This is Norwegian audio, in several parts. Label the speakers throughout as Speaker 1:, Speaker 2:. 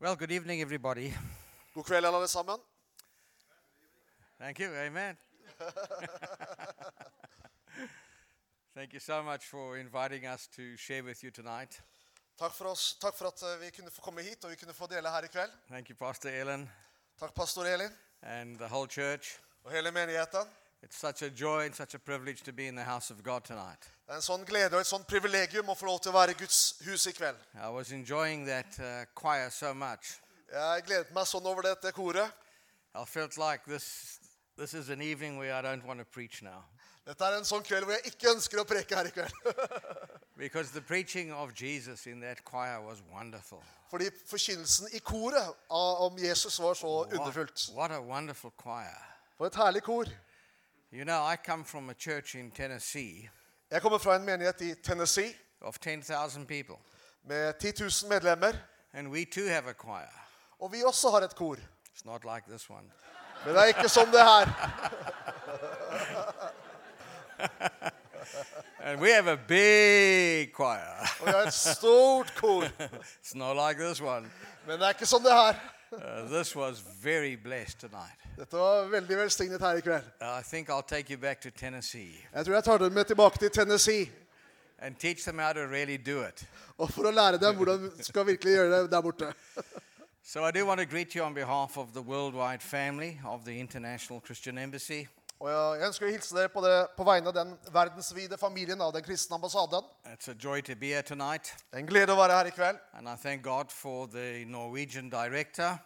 Speaker 1: Well, good evening, everybody.
Speaker 2: God kveld, alle sammen.
Speaker 1: Thank you. Amen. Thank you so much for inviting us to share with you tonight.
Speaker 2: Takk for, oss. Takk for at eh, vi kunne få komme hit og vi kunne få dele her i kveld.
Speaker 1: Thank you, Pastor Ellen
Speaker 2: Takk, pastor Elin
Speaker 1: and the whole church.
Speaker 2: og hele menigheten.
Speaker 1: It's such a joy and such a privilege to be in the house of God tonight.
Speaker 2: Det er en sånn glede og et sånn privilegium å få lov til å være i Guds hus i kveld.
Speaker 1: I was enjoying that uh, choir so much.
Speaker 2: Jeg gledet meg sånn over dette koret.
Speaker 1: I felt like this, this is an evening where I don't want to preach now
Speaker 2: Dette er en sånn kveld hvor jeg ikke ønsker å preke her i kveld.
Speaker 1: because the preaching of Jesus in that choir was wonderful.
Speaker 2: Fordi forkynnelsen i koret av- om Jesus var så underfullt.
Speaker 1: What a wonderful choir.
Speaker 2: For et herlig kor.
Speaker 1: You know, I come from a church in Tennessee
Speaker 2: Jeg kommer fra en menighet i Tennessee
Speaker 1: of 10,000 people,
Speaker 2: med 10 000 medlemmer.
Speaker 1: and we too have a choir.
Speaker 2: Og vi også har et kor.
Speaker 1: It's not like this one.
Speaker 2: Men det er ikke som det her.
Speaker 1: And we have a big choir.
Speaker 2: Og vi har et stort kor.
Speaker 1: It's not like this one.
Speaker 2: Men det er ikke som det her.
Speaker 1: Uh, this was very blessed tonight.
Speaker 2: Dette var veldig velsignet her i kveld.
Speaker 1: Uh, I think I'll take you back to Tennessee
Speaker 2: Jeg tror jeg tar dem med tilbake til Tennessee.
Speaker 1: and teach them how to really do it.
Speaker 2: Og for å lære dem hvordan vi skal virkelig gjøre det der borte.
Speaker 1: So I do want to greet you on behalf of the worldwide family of the International Christian Embassy
Speaker 2: Og jeg jeg ønsker å hilse dere på, det, på vegne av den verdensvide familien av den kristne ambassaden.
Speaker 1: It's a joy to be here tonight,
Speaker 2: Det er en glede å være her i kveld.
Speaker 1: and I thank God for the Norwegian director,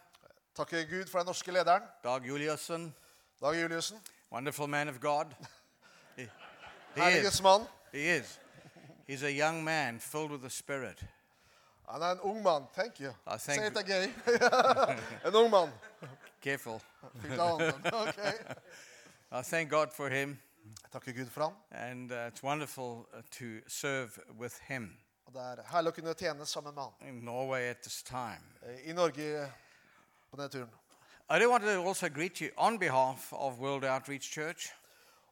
Speaker 2: Takke Gud for den norske lederen,
Speaker 1: Dag Juliussen,
Speaker 2: Dag Juliussen.
Speaker 1: wonderful man of God. He, he is.
Speaker 2: Herliges mann.
Speaker 1: He is. He's a young man filled with the Spirit.
Speaker 2: Han er en ung mann. Thank you.
Speaker 1: I
Speaker 2: Say
Speaker 1: thank-
Speaker 2: it again. en ung mann.
Speaker 1: Careful.
Speaker 2: Fikk da hånden. Ok.
Speaker 1: I thank God for him,
Speaker 2: Jeg takker Gud for han.
Speaker 1: and uh, it's wonderful uh, to serve with him
Speaker 2: Og det er herlig å kunne tjene sammen med han
Speaker 1: in Norway at this time.
Speaker 2: eh, i Norge på denne turen.
Speaker 1: I do want to also greet you on behalf of World Outreach Church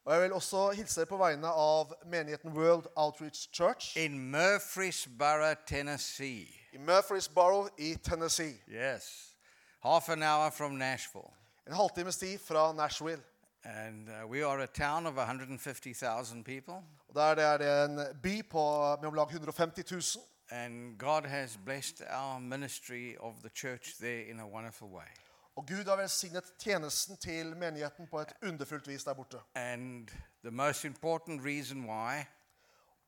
Speaker 2: Og jeg vil også hilse dere på vegne av menigheten World Outreach Church
Speaker 1: in Murfreesboro, Tennessee.
Speaker 2: i Murfreesboro i Tennessee.
Speaker 1: Yes, half an hour from Nashville.
Speaker 2: En halvtimes tid fra Nashville.
Speaker 1: And uh, we are a town of 150,000 people.
Speaker 2: Og Der det er en by på, med om lag 150 000.
Speaker 1: And God has blessed our ministry of the church there in a wonderful way.
Speaker 2: Og Gud har velsignet tjenesten til menigheten på et underfullt vis der borte.
Speaker 1: And the most important reason why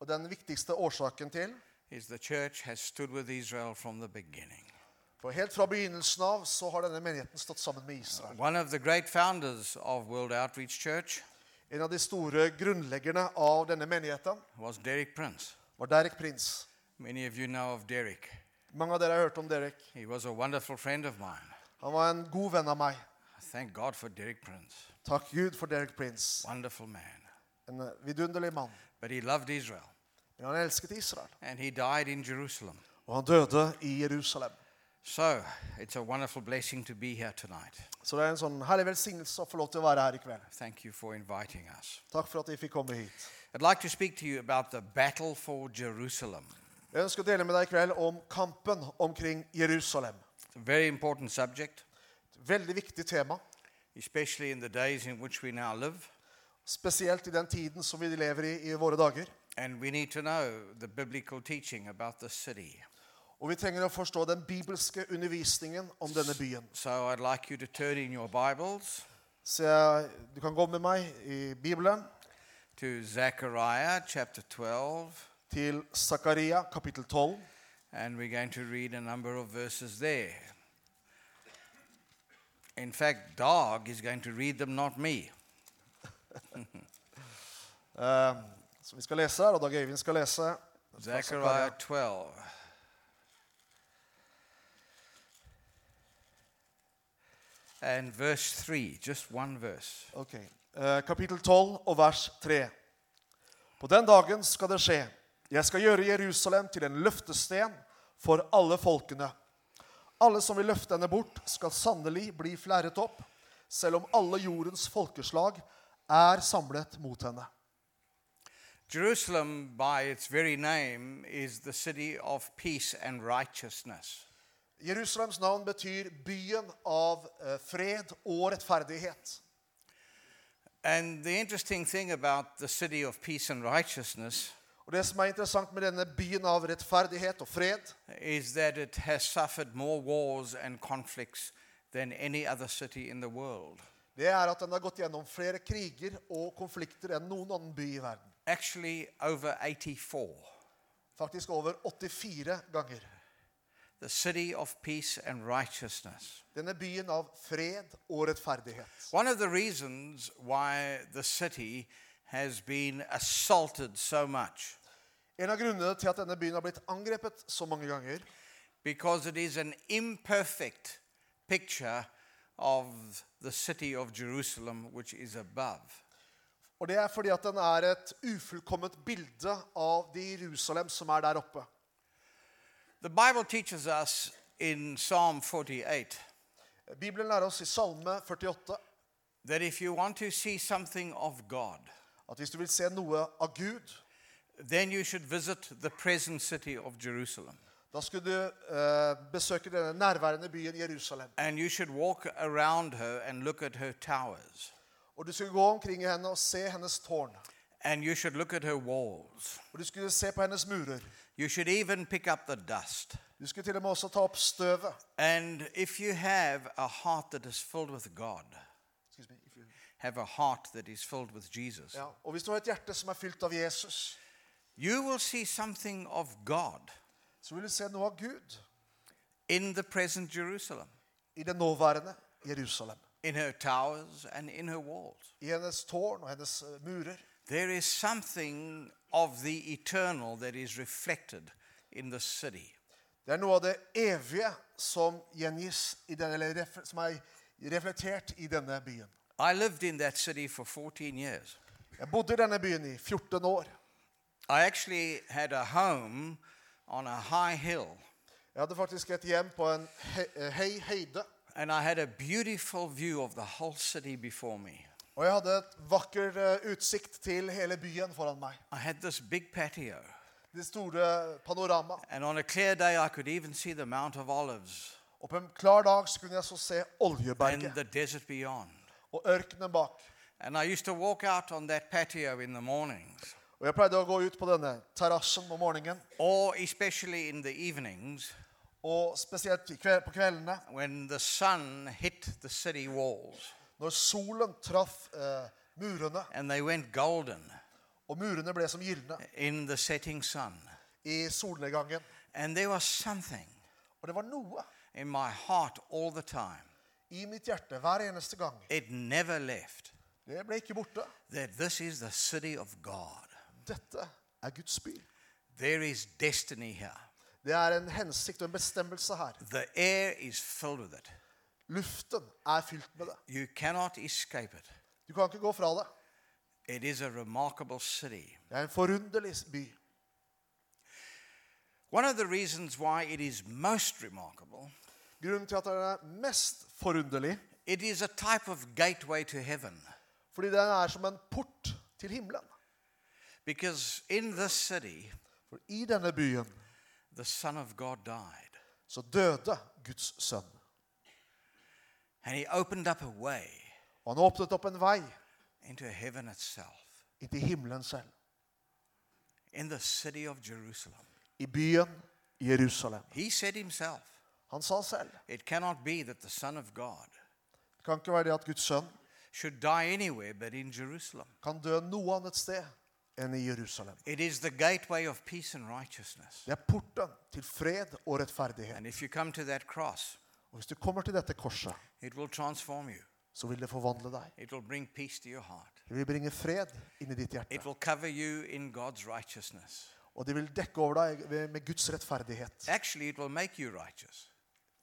Speaker 2: Og den viktigste årsaken til
Speaker 1: is the church has stood with Israel from the beginning.
Speaker 2: For helt fra begynnelsen av så har denne menigheten stått sammen med Israel.
Speaker 1: One of the great founders of World Outreach Church
Speaker 2: En av de store grunnleggerne av denne menigheten
Speaker 1: was Derek Prince.
Speaker 2: var Derek Prince.
Speaker 1: Many of you know of Derek.
Speaker 2: Mange av dere har hørt om Derek.
Speaker 1: He was a wonderful friend of mine.
Speaker 2: Han var en god venn av meg.
Speaker 1: I Thank God for Derek Prince.
Speaker 2: Takk Gud for Derek Prince.
Speaker 1: Wonderful man.
Speaker 2: En eh, vidunderlig mann.
Speaker 1: But he loved Israel
Speaker 2: Men han elsket Israel.
Speaker 1: and he died in Jerusalem.
Speaker 2: Og han døde i Jerusalem.
Speaker 1: So it's a wonderful blessing to be here tonight.
Speaker 2: Så det er en sånn herlig velsignelse å få lov til å være her i kveld.
Speaker 1: Thank you for inviting us.
Speaker 2: Takk for at vi fikk komme hit.
Speaker 1: I'd like to speak to you about the battle for Jerusalem.
Speaker 2: Jeg ønsker å dele med deg i kveld om kampen omkring Jerusalem.
Speaker 1: It's a very important subject,
Speaker 2: Et veldig viktig tema,
Speaker 1: especially in the days in which we now live.
Speaker 2: spesielt i den tiden som vi lever i i våre dager.
Speaker 1: And we need to know the biblical teaching about the city.
Speaker 2: Og vi trenger å forstå den bibelske undervisningen om denne byen.
Speaker 1: So I'd like you to turn in your Bibles
Speaker 2: Så jeg, du kan gå med meg i Bibelen
Speaker 1: to Zechariah chapter 12,
Speaker 2: til Zakaria kapittel 12.
Speaker 1: and we're going to read a number of verses there. In fact, Dog is going to read them, not me.
Speaker 2: eh, som vi skal lese her, og Dag Øyvind skal lese. fra
Speaker 1: Zechariah 12. And verse 3, just one verse.
Speaker 2: Ok, eh, Kapittel 12 og vers 3. På den dagen skal det skje. Jeg skal gjøre Jerusalem til en løftesten for alle folkene. Alle som vil løfte henne bort, skal sannelig bli flerret opp, selv om alle jordens folkeslag er samlet mot henne.
Speaker 1: Jerusalem, by its very name, is the city of peace and righteousness.
Speaker 2: Jerusalems navn betyr byen av eh, fred og rettferdighet.
Speaker 1: And the interesting thing about the city of peace and righteousness
Speaker 2: Og Det som er interessant med denne byen av rettferdighet og fred,
Speaker 1: is that it has suffered more wars and conflicts than any other city in the world.
Speaker 2: det er at den har gått gjennom flere kriger og konflikter enn noen annen by i verden.
Speaker 1: Actually, over 84.
Speaker 2: Faktisk over 84 ganger.
Speaker 1: The city of peace and righteousness.
Speaker 2: Denne byen av fred og rettferdighet.
Speaker 1: One of the reasons why the city has been assaulted so much
Speaker 2: En av grunnene til at denne byen har blitt angrepet så mange ganger,
Speaker 1: because it is an imperfect picture of the city of Jerusalem which is above.
Speaker 2: og det er fordi at den er et ufullkomment bilde av det Jerusalem som er der oppe.
Speaker 1: The Bible teaches us in Psalm 48
Speaker 2: Bibelen lærer oss i Salme 48
Speaker 1: that if you want to see something of God,
Speaker 2: at hvis du vil se noe av Gud,
Speaker 1: then you should visit the present city of Jerusalem.
Speaker 2: da skulle du eh, besøke denne nærværende byen Jerusalem.
Speaker 1: And you should walk around her and look at her towers.
Speaker 2: Og du skulle gå omkring i henne og se hennes tårn.
Speaker 1: And you should look at her walls.
Speaker 2: Og du skulle se på hennes murer.
Speaker 1: You should even pick up the dust.
Speaker 2: Du skulle til og med også ta opp støvet.
Speaker 1: And if you have a heart that is filled with God,
Speaker 2: Excuse me, if you-
Speaker 1: have a heart that is filled with Jesus,
Speaker 2: Ja. Og hvis du har et hjerte som er fylt av Jesus,
Speaker 1: you will see something of God
Speaker 2: så vil du se noe av Gud
Speaker 1: in the present Jerusalem,
Speaker 2: i det nåværende Jerusalem.
Speaker 1: in her towers and in her walls.
Speaker 2: I hennes tårn og hennes eh, murer.
Speaker 1: There is something of the eternal that is reflected in the city.
Speaker 2: Det er noe av det evige som gjengis i denne, eller ref, som er reflektert i denne byen.
Speaker 1: I lived in that city for 14 years.
Speaker 2: Jeg bodde i denne byen i 14 år.
Speaker 1: I actually had a home on a high hill,
Speaker 2: Jeg hadde faktisk et hjem på en he- eh, høy høyde.
Speaker 1: and I had a beautiful view of the whole city before me.
Speaker 2: Og jeg hadde et vakker eh, utsikt til hele byen foran meg.
Speaker 1: I had this big patio,
Speaker 2: Det store panorama.
Speaker 1: and on a clear day, I could even see the Mount of Olives
Speaker 2: Og på en klar dag så kunne jeg så se
Speaker 1: and
Speaker 2: Oljeberget
Speaker 1: the desert beyond.
Speaker 2: og ørkenen bak.
Speaker 1: And I used to walk out on that patio in the mornings,
Speaker 2: Og jeg pleide å gå ut på denne terrassen om morgenen,
Speaker 1: or especially in the evenings
Speaker 2: og spesielt i kve- på kveldene,
Speaker 1: when the sun hit the city walls
Speaker 2: når solen traff eh, murene,
Speaker 1: and they went golden
Speaker 2: og murene ble som gylne
Speaker 1: in the setting sun.
Speaker 2: i solnedgangen.
Speaker 1: And there was something
Speaker 2: Og det var noe
Speaker 1: in my heart all the time.
Speaker 2: i mitt hjerte hver eneste gang.
Speaker 1: It never left
Speaker 2: Det ble ikke borte.
Speaker 1: that this is the city of God.
Speaker 2: Dette er Guds by.
Speaker 1: There is destiny here.
Speaker 2: Det er en hensikt og en bestemmelse her.
Speaker 1: The air is filled with it.
Speaker 2: Luften er fylt med det.
Speaker 1: You cannot escape it.
Speaker 2: Du kan ikke gå fra det.
Speaker 1: It is a remarkable city.
Speaker 2: Det er en forunderlig by.
Speaker 1: One of the reasons why it is most remarkable,
Speaker 2: Grunnen til at den er mest forunderlig,
Speaker 1: it is a type of gateway to heaven.
Speaker 2: fordi den er som en port til himmelen.
Speaker 1: Because in this city,
Speaker 2: For i denne byen
Speaker 1: the Son of God died.
Speaker 2: så døde Guds sønn.
Speaker 1: And he opened up a way
Speaker 2: Og han åpnet opp en vei
Speaker 1: into heaven itself,
Speaker 2: inn til himmelen selv.
Speaker 1: in the city of Jerusalem.
Speaker 2: I byen Jerusalem.
Speaker 1: He said himself,
Speaker 2: Han sa selv
Speaker 1: It cannot be that the Son of God
Speaker 2: det kan ikke være det at Guds sønn
Speaker 1: should die anywhere but in Jerusalem.
Speaker 2: kan dø noe annet sted enn i Jerusalem.
Speaker 1: It is the gateway of peace and righteousness.
Speaker 2: Det er porten til fred og rettferdighet.
Speaker 1: And if you come to that cross,
Speaker 2: Og hvis du kommer til dette korset,
Speaker 1: it will transform you,
Speaker 2: så vil det forvandle deg.
Speaker 1: it will bring peace to your heart,
Speaker 2: Det vil bringe fred inn i ditt hjerte.
Speaker 1: it will cover you in God's righteousness.
Speaker 2: Og det vil dekke over deg ved- med Guds rettferdighet.
Speaker 1: Actually, it will make you righteous,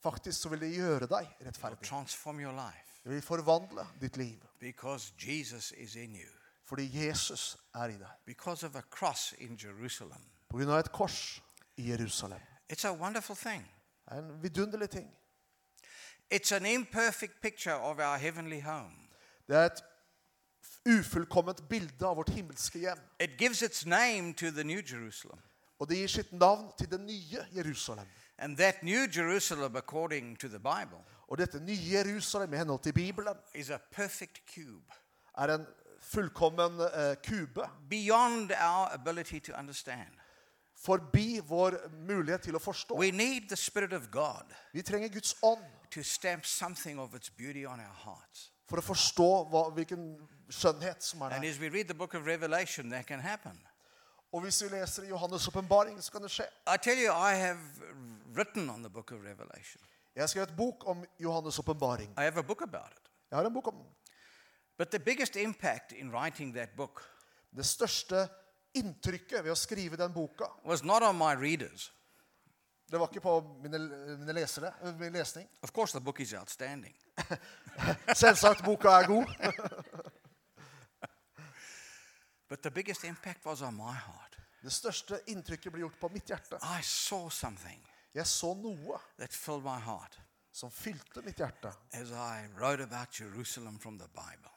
Speaker 2: Faktisk så vil det gjøre deg
Speaker 1: it will
Speaker 2: rettferdig.
Speaker 1: transform your life
Speaker 2: Det vil forvandle ditt liv.
Speaker 1: because Jesus is in you.
Speaker 2: Fordi Jesus er i deg.
Speaker 1: because of a cross in Jerusalem.
Speaker 2: På grunn av et kors i Jerusalem.
Speaker 1: It's a wonderful thing.
Speaker 2: Det er en vidunderlig ting.
Speaker 1: It's an imperfect picture of our heavenly home.
Speaker 2: Det er et ufullkomment bilde av vårt himmelske hjem.
Speaker 1: It gives its name to the New Jerusalem.
Speaker 2: Og det gir sitt navn til det nye Jerusalem.
Speaker 1: And that new Jerusalem, according to the Bible,
Speaker 2: Og dette nye Jerusalem i henhold til Bibelen
Speaker 1: is a perfect cube
Speaker 2: er en fullkommen eh, kube
Speaker 1: beyond our ability to understand.
Speaker 2: forbi vår mulighet til å forstå.
Speaker 1: We need the Spirit of God
Speaker 2: Vi trenger Guds ånd
Speaker 1: to stamp something of its beauty on our hearts.
Speaker 2: for å forstå hva, hvilken skjønnhet som er
Speaker 1: And
Speaker 2: der.
Speaker 1: as we read the book of Revelation, that can happen.
Speaker 2: Og hvis vi leser i Johannes' åpenbaring, så kan det skje.
Speaker 1: I tell you, I have written on the book of Revelation,
Speaker 2: Jeg har skrevet bok om Johannes' åpenbaring.
Speaker 1: I have a book about it.
Speaker 2: Jeg har en bok om den.
Speaker 1: But the biggest impact in writing that book
Speaker 2: Det største inntrykket ved å skrive den boka,
Speaker 1: was not on my readers.
Speaker 2: det var ikke på mine, mine lesere, eh, min lesning.
Speaker 1: Of course, the book is outstanding.
Speaker 2: Selvsagt, boka er god.
Speaker 1: But the biggest impact was on my heart.
Speaker 2: Det største inntrykket ble gjort på mitt hjerte.
Speaker 1: I saw something
Speaker 2: Jeg så noe
Speaker 1: that filled my heart
Speaker 2: som fylte mitt hjerte
Speaker 1: as I wrote about Jerusalem from the Bible,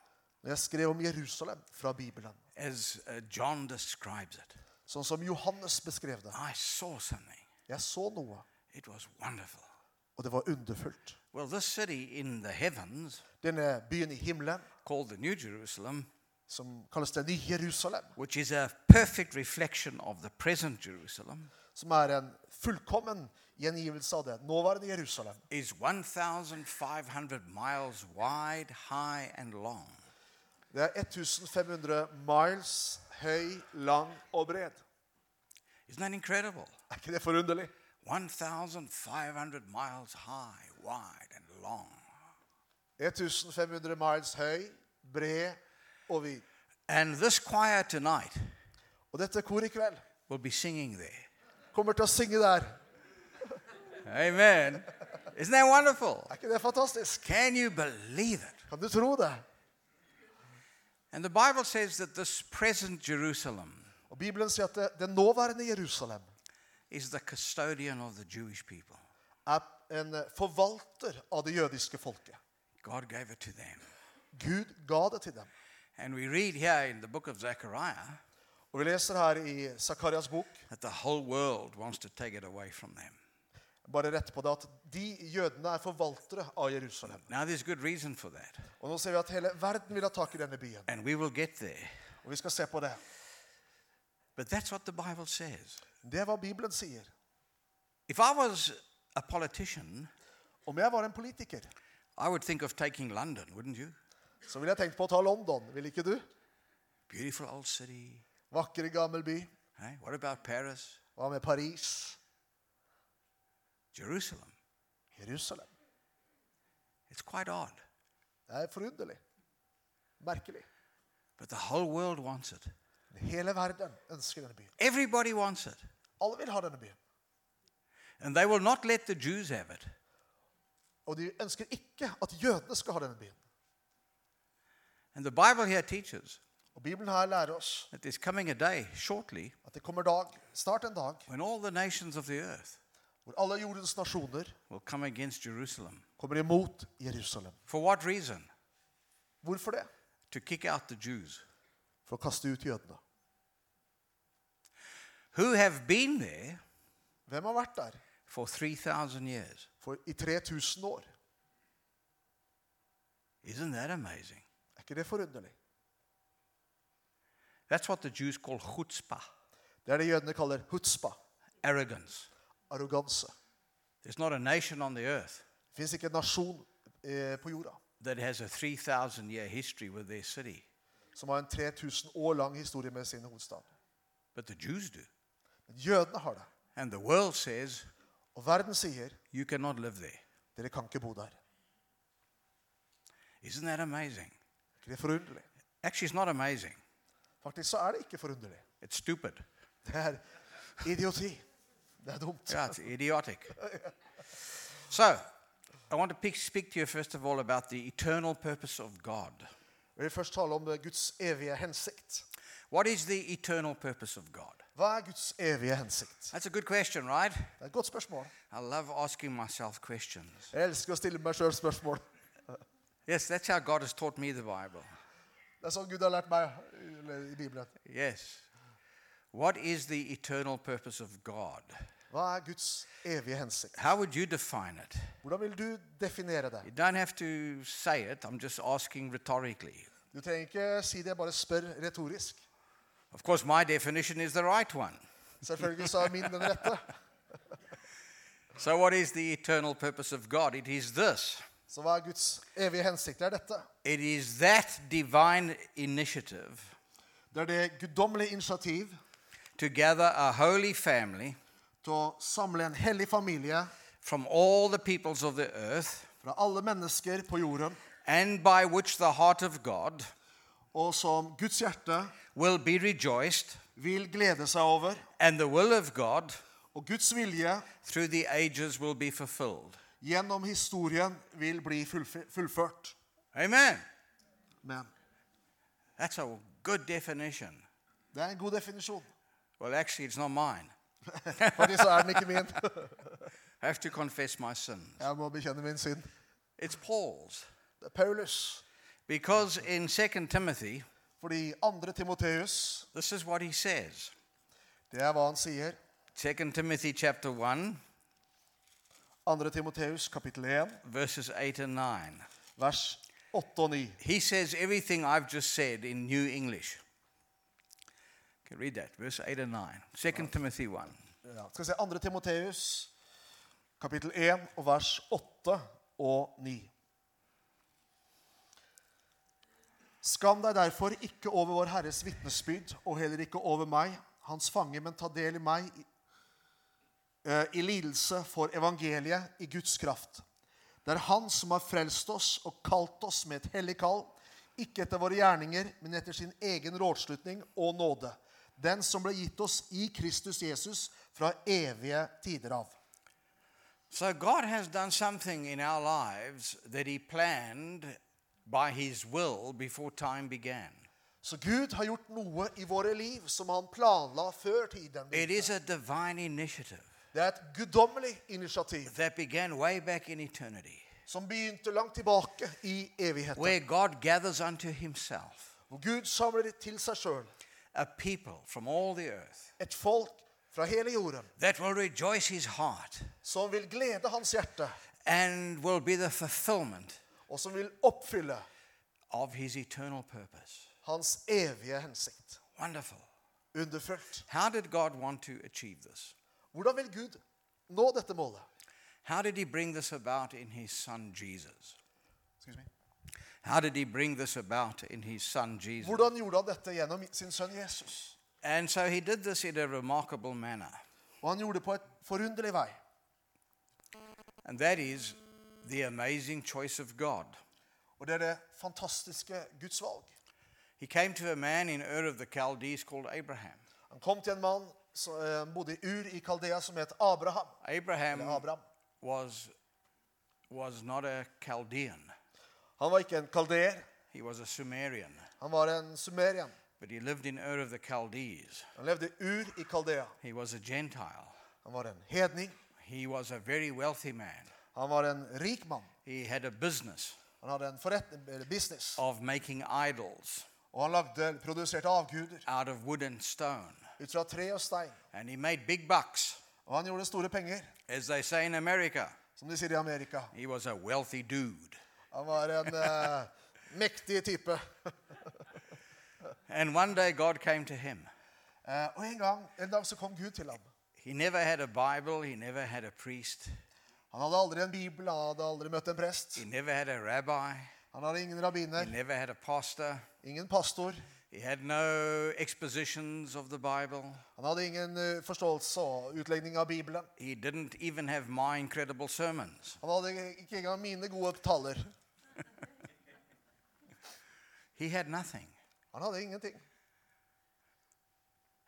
Speaker 2: når jeg skrev om Jerusalem fra Bibelen.
Speaker 1: as uh, John describes it.
Speaker 2: Sånn som Johannes beskrev det.
Speaker 1: I saw something.
Speaker 2: Jeg så noe,
Speaker 1: It was wonderful.
Speaker 2: og det var underfullt.
Speaker 1: Well, this city in the heavens,
Speaker 2: Denne byen i himmelen,
Speaker 1: called the New Jerusalem,
Speaker 2: som kalles det nye Jerusalem,
Speaker 1: which is a perfect reflection of the present Jerusalem,
Speaker 2: som er en fullkommen gjengivelse av det nåværende Jerusalem,
Speaker 1: is 1,500 miles wide, high, and long.
Speaker 2: det er 1500 miles høy, lang og bred.
Speaker 1: Isn't that incredible?
Speaker 2: Er ikke det forunderlig?
Speaker 1: 1,500 miles high, wide, and long.
Speaker 2: 1500 miles høy, bred og vid.
Speaker 1: And this choir tonight
Speaker 2: Og dette kor i kveld
Speaker 1: will be singing there.
Speaker 2: kommer til å synge der.
Speaker 1: Amen. Isn't that wonderful?
Speaker 2: Er ikke det fantastisk?
Speaker 1: Can you believe it?
Speaker 2: Kan du tro det?
Speaker 1: And the Bible says that this present Jerusalem
Speaker 2: Og Bibelen sier at det, det nåværende Jerusalem
Speaker 1: is the custodian of the Jewish people.
Speaker 2: er en forvalter av det jødiske folket.
Speaker 1: God gave it to them.
Speaker 2: Gud ga det til dem.
Speaker 1: And we read here in the book of Zechariah
Speaker 2: Og vi leser her i Sakarias bok,
Speaker 1: that the whole world wants to take it away from them.
Speaker 2: bare rett på det, at de jødene er forvaltere av Jerusalem.
Speaker 1: Now, there's good reason for that,
Speaker 2: Og nå ser vi at hele verden vil ha tak i denne byen.
Speaker 1: and we will get there.
Speaker 2: Og vi skal se på det.
Speaker 1: But that's what the Bible says.
Speaker 2: Det er hva Bibelen sier.
Speaker 1: If I was a politician,
Speaker 2: Om jeg var en politiker,
Speaker 1: I would think of taking London, wouldn't you?
Speaker 2: så ville jeg tenkt på å ta London. Vil ikke du?
Speaker 1: Beautiful old city.
Speaker 2: Vakker, gammel by.
Speaker 1: eh? What about Paris?
Speaker 2: Hva med Paris?
Speaker 1: Jerusalem.
Speaker 2: Jerusalem.
Speaker 1: It's quite odd,
Speaker 2: Det er forunderlig. Merkelig.
Speaker 1: but the whole world wants it.
Speaker 2: Hele verden ønsker denne byen.
Speaker 1: Everybody wants it.
Speaker 2: Alle vil ha denne byen.
Speaker 1: And they will not let the Jews have it.
Speaker 2: Og de ønsker ikke at jødene skal ha denne byen.
Speaker 1: And the Bible here teaches
Speaker 2: Og Bibelen her lærer oss
Speaker 1: that there's coming a day shortly
Speaker 2: at det kommer dag, snart en dag
Speaker 1: when all the nations of the earth
Speaker 2: hvor alle jordens nasjoner
Speaker 1: will come against Jerusalem.
Speaker 2: kommer imot Jerusalem.
Speaker 1: For what reason?
Speaker 2: Hvorfor det?
Speaker 1: To kick out the Jews
Speaker 2: For å kaste ut jødene.
Speaker 1: who have been there
Speaker 2: Hvem har vært der
Speaker 1: for 3,000 years.
Speaker 2: for i 3000 år?
Speaker 1: Isn't that amazing?
Speaker 2: Er ikke det forunderlig?
Speaker 1: That's what the Jews call chutzpah,
Speaker 2: Det er det jødene kaller hutzpa,
Speaker 1: arrogance.
Speaker 2: arroganse.
Speaker 1: There's not a nation on the earth
Speaker 2: Det fins ikke en nasjon eh, på jorda
Speaker 1: that has a 3,000 year history with their city,
Speaker 2: som har en 3000 år lang historie med sin hovedstad.
Speaker 1: but the Jews do.
Speaker 2: Men jødene har det.
Speaker 1: And the world says
Speaker 2: Og verden sier
Speaker 1: you cannot live there.
Speaker 2: dere kan ikke bo der. Er
Speaker 1: Isn't that amazing?
Speaker 2: ikke det forunderlig?
Speaker 1: Actually, it's not amazing,
Speaker 2: Faktisk så er det ikke forunderlig.
Speaker 1: it's stupid.
Speaker 2: Det er idioti. Det er dumt.
Speaker 1: Yeah, it's idiotic. So, I want to pick- speak to you first of all about the eternal purpose of God.
Speaker 2: Jeg vil først tale om eh, Guds evige hensikt.
Speaker 1: What is the eternal purpose of God?
Speaker 2: Hva er Guds evige hensikt?
Speaker 1: That's a good question, right?
Speaker 2: Det er et godt spørsmål.
Speaker 1: I love asking myself questions.
Speaker 2: Jeg elsker å stille meg sjøl spørsmål.
Speaker 1: Yes, that's how God has taught me the Bible.
Speaker 2: Det er sånn Gud har lært meg eller i Bibelen.
Speaker 1: Yes. What is the eternal purpose of God?
Speaker 2: Hva er Guds evige hensikt?
Speaker 1: How would you define it?
Speaker 2: Hvordan vil du definere det?
Speaker 1: You don't have to say it, I'm just asking rhetorically.
Speaker 2: Du trenger ikke si det, bare spør retorisk.
Speaker 1: Of course, my definition is the right one.
Speaker 2: Selvfølgelig så er min den rette.
Speaker 1: So, what is the eternal purpose of God? It is this
Speaker 2: Så hva er Guds evige hensikt? Det er dette.
Speaker 1: it is that divine initiative
Speaker 2: Det er det guddommelige initiativ
Speaker 1: to gather a holy family
Speaker 2: til å samle en hellig familie
Speaker 1: from all the peoples of the earth,
Speaker 2: fra alle mennesker på jorden,
Speaker 1: and by which the heart of God
Speaker 2: og som Guds hjerte
Speaker 1: will be rejoiced,
Speaker 2: vil glede seg over,
Speaker 1: and the will of God
Speaker 2: og Guds vilje
Speaker 1: through the ages will be fulfilled.
Speaker 2: gjennom historien vil bli fullf- fullført.
Speaker 1: Amen.
Speaker 2: Men
Speaker 1: That's a good definition.
Speaker 2: det er en god definisjon.
Speaker 1: Well, actually, it's not mine.
Speaker 2: Faktisk så er den ikke min.
Speaker 1: I have to confess my sin.
Speaker 2: Jeg må bekjenne min synd.
Speaker 1: It's Paul's.
Speaker 2: Det er Paulus.
Speaker 1: Because in 2 Timothy,
Speaker 2: Fordi andre Timoteus,
Speaker 1: this is what he says.
Speaker 2: det er hva han sier.
Speaker 1: 2 Timothy chapter 1,
Speaker 2: Andre Timoteus kapittel 1,
Speaker 1: verses 8 and 9.
Speaker 2: vers 8 og 9.
Speaker 1: He says everything I've just said in New English. Okay, read that, verse 8 and 9. 2 Timothy 1.
Speaker 2: Ja, skal vi se andre Timoteus kapittel 1 og vers 8 og 9. Skam deg derfor ikke over vår Herres vitnesbyrd, og heller ikke over meg, hans fange, men ta del i meg i, eh, i lidelse for evangeliet, i Guds kraft. Det er Han som har frelst oss og kalt oss med et hellig kall, ikke etter våre gjerninger, men etter sin egen rådslutning og nåde. Den som ble gitt oss i Kristus Jesus fra evige tider av.
Speaker 1: So God has done something in our lives that He planned by His will before time began.
Speaker 2: Så Gud har gjort noe i våre liv som han planla før tiden.
Speaker 1: It is a divine initiative
Speaker 2: Det er et guddommelig initiativ
Speaker 1: that began way back in eternity,
Speaker 2: som begynte langt tilbake i evigheten.
Speaker 1: where God gathers unto Himself
Speaker 2: Hvor Gud samler til seg sjøl
Speaker 1: a people from all the earth
Speaker 2: et folk fra hele jorden
Speaker 1: that will rejoice His heart
Speaker 2: som vil glede hans hjerte,
Speaker 1: and will be the fulfillment
Speaker 2: og som vil oppfylle
Speaker 1: of His eternal purpose.
Speaker 2: hans evige hensikt.
Speaker 1: Wonderful.
Speaker 2: Underfullt.
Speaker 1: How did God want to achieve this?
Speaker 2: Hvordan vil Gud nå dette målet?
Speaker 1: How did He bring this about in His Son Jesus?
Speaker 2: Excuse me.
Speaker 1: How did he bring this about in his son Jesus?
Speaker 2: Hvordan gjorde han dette gjennom sin sønn Jesus?
Speaker 1: And so he did this in a remarkable manner,
Speaker 2: Og han gjorde det på et forunderlig vei.
Speaker 1: and that is the amazing choice of God.
Speaker 2: Og det er det fantastiske Guds valg.
Speaker 1: He came to a man in Ur of the Chaldees called Abraham.
Speaker 2: Han kom til en mann som eh, bodde i Ur i Kaldea, som het Abraham.
Speaker 1: Abraham,
Speaker 2: Eller Abraham.
Speaker 1: was was not a Chaldean.
Speaker 2: Han var ikke en kaldeer,
Speaker 1: He was a Sumerian,
Speaker 2: han var en sumerien.
Speaker 1: but he lived in Ur of the Chaldees.
Speaker 2: Han levde i Ur i Kaldea.
Speaker 1: He was a Gentile.
Speaker 2: Han var en hedning,
Speaker 1: He was a very wealthy man.
Speaker 2: han var en rik mann.
Speaker 1: He had a business
Speaker 2: Han hadde en forretning, eller business,
Speaker 1: of making idols
Speaker 2: og han lagde, produserte avguder
Speaker 1: out of wood and stone,
Speaker 2: ut fra tre og stein.
Speaker 1: and he made big bucks.
Speaker 2: Og han gjorde store penger,
Speaker 1: As they say in America,
Speaker 2: som de sier i Amerika.
Speaker 1: he was a wealthy dude.
Speaker 2: Han var en eh, mektig type.
Speaker 1: And one day God came to him.
Speaker 2: Eh, og en, gang, en dag så kom Gud til ham.
Speaker 1: He never had a Bible, he never had a priest,
Speaker 2: Han hadde aldri en bibel, han hadde aldri møtt en prest.
Speaker 1: he never had a rabbi,
Speaker 2: Han hadde ingen
Speaker 1: he
Speaker 2: rabbiner,
Speaker 1: never had a pastor,
Speaker 2: ingen pastor.
Speaker 1: he had no expositions of the Bible,
Speaker 2: Han hadde ingen eh, forståelse og utlegning av Bibelen.
Speaker 1: he didn't even have my incredible sermons.
Speaker 2: Han hadde ikke engang mine gode taler.
Speaker 1: He had nothing.
Speaker 2: Han hadde ingenting.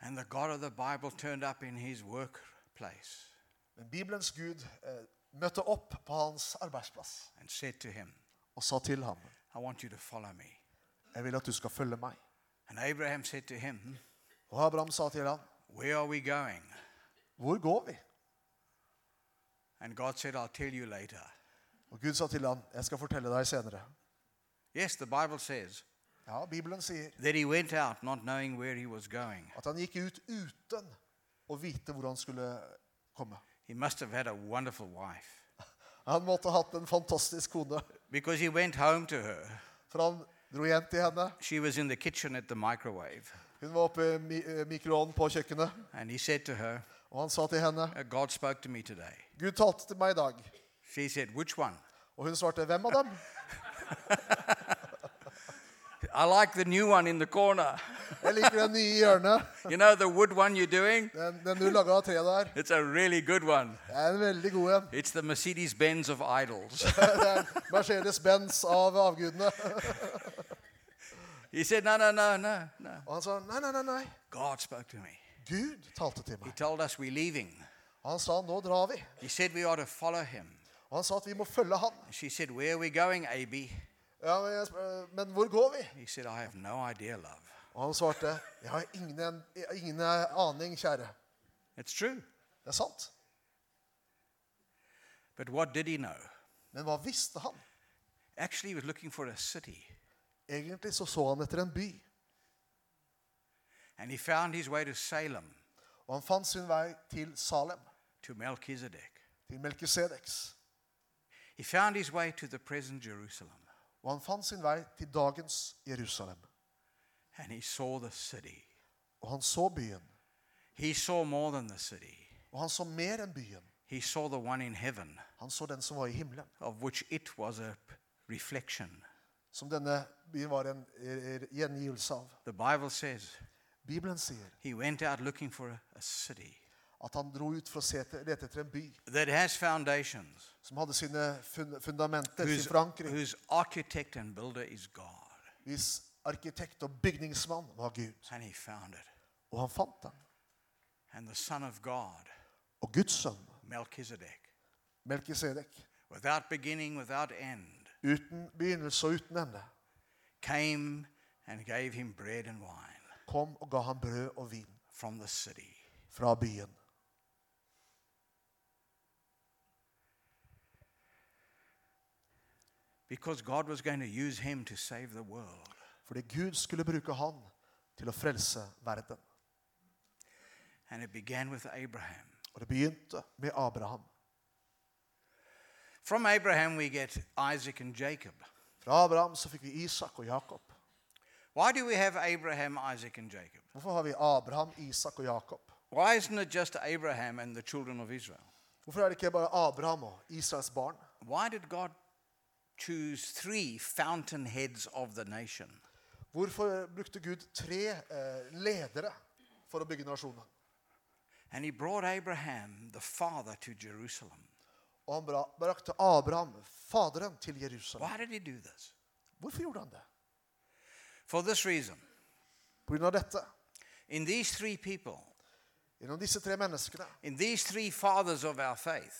Speaker 1: And the God of the Bible turned up in his workplace
Speaker 2: Men Bibelens Gud eh, møtte opp på hans arbeidsplass
Speaker 1: and said to him,
Speaker 2: og sa til ham,
Speaker 1: I want you to follow me.
Speaker 2: jeg vil at du skal følge meg.
Speaker 1: And Abraham said to him,
Speaker 2: Og Abraham sa til ham,
Speaker 1: Where are we going?
Speaker 2: hvor går vi?
Speaker 1: And God said, I'll tell you later.
Speaker 2: Og Gud sa til ham, jeg skal fortelle deg senere.
Speaker 1: Yes, the Bible says
Speaker 2: Ja, Bibelen sier
Speaker 1: that he went out not knowing where he was going.
Speaker 2: at han gikk ut uten å vite hvor han skulle komme.
Speaker 1: He must have had a wonderful wife
Speaker 2: Han måtte ha hatt en fantastisk kone,
Speaker 1: because he went home to her.
Speaker 2: for han dro hjem til henne.
Speaker 1: She was in the kitchen at the microwave,
Speaker 2: Hun var oppe i mi- eh, mikroovnen på kjøkkenet,
Speaker 1: and he said to her,
Speaker 2: og han sa til henne,
Speaker 1: "Uh, God spoke to me today.
Speaker 2: Gud talte til meg i dag.
Speaker 1: She said, Which one?
Speaker 2: Og hun svarte, hvem av dem?
Speaker 1: I like the new one in the corner.
Speaker 2: Jeg liker den nye i hjørnet.
Speaker 1: You know the wood one you're doing?
Speaker 2: Den, den du laget av tre der.
Speaker 1: It's a really good one.
Speaker 2: Det er en veldig god en.
Speaker 1: It's the Mercedes Benz of idols.
Speaker 2: Det er Mercedes-Benz av avgudene.
Speaker 1: he said, No, no, no, no, no.
Speaker 2: Og han sa, nei, nei, nei, nei.
Speaker 1: God spoke to me.
Speaker 2: Gud talte til
Speaker 1: He
Speaker 2: meg.
Speaker 1: told us we're leaving.
Speaker 2: Og han sa, nå drar vi.
Speaker 1: He said we ought to follow him.
Speaker 2: Og han sa at vi må følge han.
Speaker 1: She said, Where are we going, AB?
Speaker 2: Ja, men, jeg, sp- eh, men hvor går vi?
Speaker 1: He said, I have no idea, love.
Speaker 2: Og han svarte, jeg har ingen, ingen aning, kjære.
Speaker 1: It's true.
Speaker 2: Det er sant.
Speaker 1: But what did he know?
Speaker 2: Men hva visste han?
Speaker 1: Actually, he was looking for a city,
Speaker 2: Egentlig så så han etter en by,
Speaker 1: and he found his way to Salem,
Speaker 2: og han fant sin vei til Salem,
Speaker 1: to Melchizedek.
Speaker 2: til Melkisedeks.
Speaker 1: He found his way to the present Jerusalem,
Speaker 2: Og han fant sin vei til dagens Jerusalem.
Speaker 1: and he saw the city.
Speaker 2: Og han så byen,
Speaker 1: He saw more than the city,
Speaker 2: og han så mer enn byen.
Speaker 1: he saw the one in heaven,
Speaker 2: Han så den som var i himmelen,
Speaker 1: of which it was a p- reflection.
Speaker 2: som denne byen var en eh, gjengivelse av.
Speaker 1: The Bible says
Speaker 2: Bibelen sier
Speaker 1: he went out looking for a, a city
Speaker 2: at han dro ut for å se etter- lete etter en by
Speaker 1: that has foundations,
Speaker 2: som hadde sine fun fundamenter, sin
Speaker 1: whose,
Speaker 2: forankring,
Speaker 1: whose architect and builder is God.
Speaker 2: hvis arkitekt og bygningsmann var Gud.
Speaker 1: And he found it.
Speaker 2: Og han fant den.
Speaker 1: And the Son of God,
Speaker 2: Og Guds sønn,
Speaker 1: Melchizedek,
Speaker 2: Melkisedek,
Speaker 1: without beginning, without end,
Speaker 2: uten begynnelse og uten ende,
Speaker 1: came and gave him bread and wine
Speaker 2: kom og ga ham brød og vin
Speaker 1: from the city.
Speaker 2: fra byen.
Speaker 1: Because God was going to use him to save the world.
Speaker 2: Fordi Gud skulle bruke han til å frelse verden.
Speaker 1: And it began with Abraham.
Speaker 2: Og det begynte med Abraham.
Speaker 1: From Abraham, we get Isaac and Jacob.
Speaker 2: Fra Abraham så fikk vi Isak og Jakob.
Speaker 1: Why do we have Abraham, Isaac, and Jacob?
Speaker 2: Hvorfor har vi Abraham, Isak og Jakob?
Speaker 1: Why isn't it just Abraham and the children of Israel?
Speaker 2: Hvorfor er det ikke bare Abraham og Israels barn?
Speaker 1: Why did God choose three fountainheads of the nation?
Speaker 2: Hvorfor brukte Gud tre eh, ledere for å bygge nasjonen?
Speaker 1: And he brought Abraham, the father, to Jerusalem.
Speaker 2: Og han bra- brakte Abraham, faderen, til Jerusalem.
Speaker 1: Why did he do this?
Speaker 2: Hvorfor gjorde han det?
Speaker 1: For this reason.
Speaker 2: På grunn av dette.
Speaker 1: In these three people,
Speaker 2: Gjennom disse tre menneskene,
Speaker 1: in these three fathers of our faith,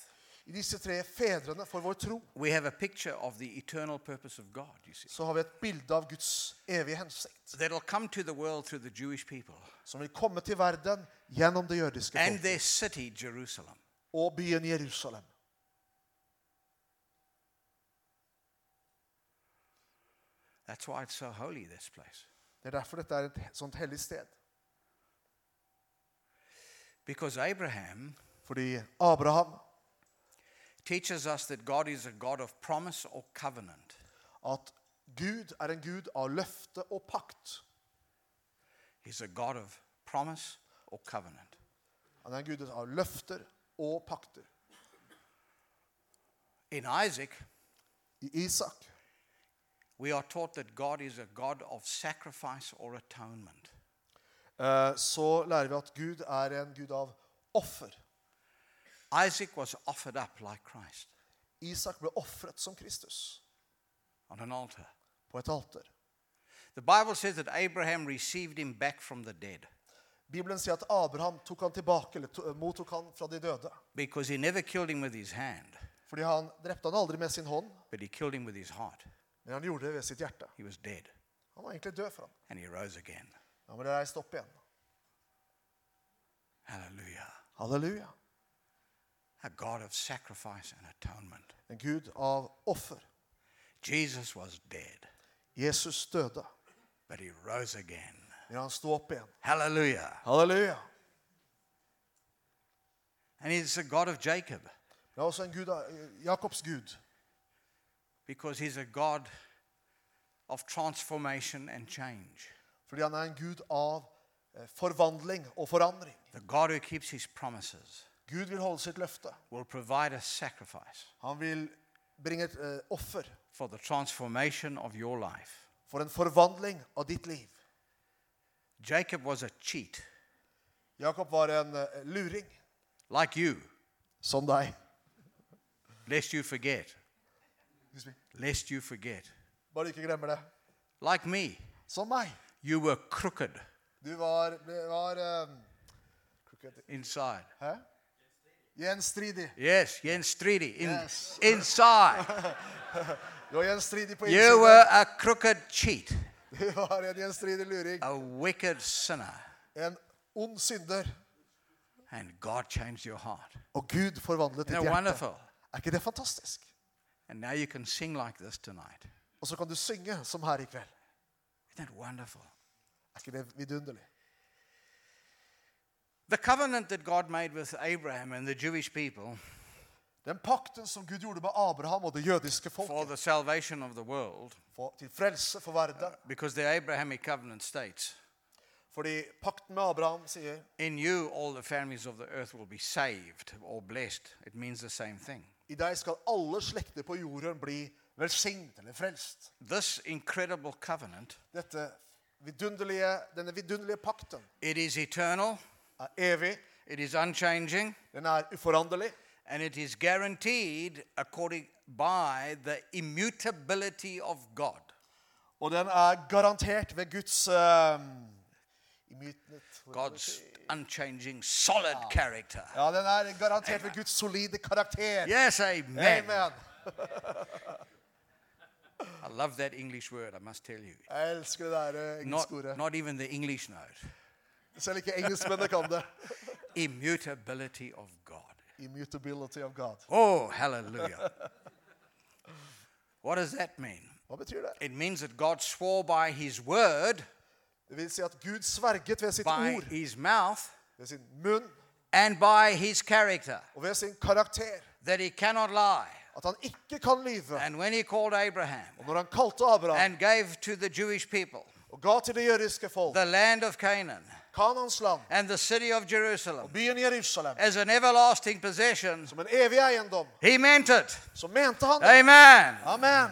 Speaker 2: i disse tre fedrene for vår tro,
Speaker 1: we have a picture of the eternal purpose of God, you see.
Speaker 2: så har vi et bilde av Guds evige hensikt,
Speaker 1: That'll come to the world through the Jewish people
Speaker 2: som vil komme til verden gjennom det jødiske
Speaker 1: and
Speaker 2: folket
Speaker 1: their city, Jerusalem.
Speaker 2: og byen Jerusalem.
Speaker 1: That's why it's so holy, this place.
Speaker 2: Det er derfor dette er et he- sånt hellig sted.
Speaker 1: Because Abraham
Speaker 2: Fordi Abraham,
Speaker 1: teaches us that God is a God of promise or covenant.
Speaker 2: at Gud er en Gud av løfte og pakt.
Speaker 1: He's a God of promise or covenant.
Speaker 2: Han er en Gud av løfter og pakter.
Speaker 1: In Isaac,
Speaker 2: I Isak
Speaker 1: we are taught that God is a God of sacrifice or atonement.
Speaker 2: eh, så lærer vi at Gud er en Gud av offer.
Speaker 1: Isaac was offered up like Christ
Speaker 2: Isak ble ofret som Kristus
Speaker 1: on an altar.
Speaker 2: på et alter.
Speaker 1: The Bible says that Abraham received him back from the dead
Speaker 2: Bibelen sier at Abraham tok han tilbake, eller to, eh, mottok han fra de døde.
Speaker 1: because he never killed him with his hand,
Speaker 2: Fordi han drepte han aldri med sin hånd,
Speaker 1: but he killed him with his heart.
Speaker 2: men han gjorde det ved sitt hjerte.
Speaker 1: He was dead
Speaker 2: Han var egentlig død for ham.
Speaker 1: and he rose again.
Speaker 2: Han ble reist opp igjen.
Speaker 1: Hallelujah.
Speaker 2: Halleluja.
Speaker 1: A God of sacrifice and atonement.
Speaker 2: En Gud av offer.
Speaker 1: Jesus was dead.
Speaker 2: Jesus døde,
Speaker 1: but he rose again.
Speaker 2: men han sto opp igjen.
Speaker 1: Hallelujah.
Speaker 2: Halleluja.
Speaker 1: And he's a God of Jacob
Speaker 2: Det er også en gud, av- eh, Jakobs gud,
Speaker 1: because he's a God of transformation and change,
Speaker 2: fordi han er en gud av eh, forvandling og forandring.
Speaker 1: the God who keeps his promises.
Speaker 2: Gud vil holde sitt løfte.
Speaker 1: will provide a sacrifice
Speaker 2: Han vil bringe et eh, offer
Speaker 1: for the transformation of your life.
Speaker 2: for en forvandling av ditt liv.
Speaker 1: Jacob was a cheat,
Speaker 2: Jakob var en eh, luring,
Speaker 1: like you,
Speaker 2: som deg.
Speaker 1: lest you forget,
Speaker 2: Excuse me.
Speaker 1: lest you forget.
Speaker 2: Bare ikke glemmer det.
Speaker 1: Like me,
Speaker 2: Som meg.
Speaker 1: you were crooked
Speaker 2: Du var, ble- var eh,
Speaker 1: inside.
Speaker 2: Hæ? Gjenstridig.
Speaker 1: Yes, Jens Stridi, in,
Speaker 2: Yes.
Speaker 1: inside.
Speaker 2: Du var gjenstridig på
Speaker 1: You
Speaker 2: innsiden.
Speaker 1: were a crooked cheat,
Speaker 2: Du var en gjenstridig luring.
Speaker 1: a wicked sinner,
Speaker 2: En ond synder.
Speaker 1: and God changed your heart.
Speaker 2: Og Gud forvandlet
Speaker 1: Isn't
Speaker 2: ditt
Speaker 1: that
Speaker 2: hjerte.
Speaker 1: wonderful?
Speaker 2: Er ikke det fantastisk?
Speaker 1: And now you can sing like this tonight.
Speaker 2: Og så kan du synge som her i kveld.
Speaker 1: Isn't that wonderful?
Speaker 2: Er ikke det vidunderlig?
Speaker 1: The covenant that God made with Abraham and the Jewish people
Speaker 2: Den pakten som Gud gjorde med Abraham og det jødiske
Speaker 1: for
Speaker 2: folket
Speaker 1: the salvation of the world
Speaker 2: for, til frelse for verden
Speaker 1: because the Abrahamic covenant states
Speaker 2: Fordi pakten med Abraham sier
Speaker 1: in you all the families of the earth will be saved or blessed it means the same thing
Speaker 2: i deg skal alle slekter på jorden bli velsignet eller frelst.
Speaker 1: this incredible covenant
Speaker 2: Dette vidunderlige, denne vidunderlige pakten
Speaker 1: it is eternal
Speaker 2: er evig,
Speaker 1: it is unchanging
Speaker 2: den er uforanderlig,
Speaker 1: and it is guaranteed according by the immutability of God
Speaker 2: og den er garantert ved Guds eh, immutnet-
Speaker 1: God's unchanging solid character
Speaker 2: Ja, den er garantert ved Guds solide karakter.
Speaker 1: yes amen
Speaker 2: Amen.
Speaker 1: i love that english word i must tell you
Speaker 2: Jeg elsker det der eh,
Speaker 1: not,
Speaker 2: engelske ordet.
Speaker 1: not even the english knows
Speaker 2: Selv ikke engelskmennene kan det.
Speaker 1: immutability of God
Speaker 2: Immutability of God.
Speaker 1: Oh, hallelujah. what does that mean?
Speaker 2: Hva betyr det?
Speaker 1: It means that God swore by his word,
Speaker 2: Det vil si at Gud sverget ved sitt
Speaker 1: by
Speaker 2: ord,
Speaker 1: his mouth,
Speaker 2: ved sin munn
Speaker 1: and by his character
Speaker 2: og ved sin karakter
Speaker 1: that he cannot lie.
Speaker 2: at han ikke kan lyve.
Speaker 1: And when he called Abraham
Speaker 2: Og når han kalte Abraham
Speaker 1: and gave to the Jewish people
Speaker 2: og ga til det jødiske folk
Speaker 1: the land of Canaan
Speaker 2: Kanans land,
Speaker 1: and the city of Jerusalem
Speaker 2: byen Jerusalem,
Speaker 1: as an everlasting possession,
Speaker 2: som en evig eiendom,
Speaker 1: he meant it.
Speaker 2: så mente han det.
Speaker 1: Amen.
Speaker 2: Amen.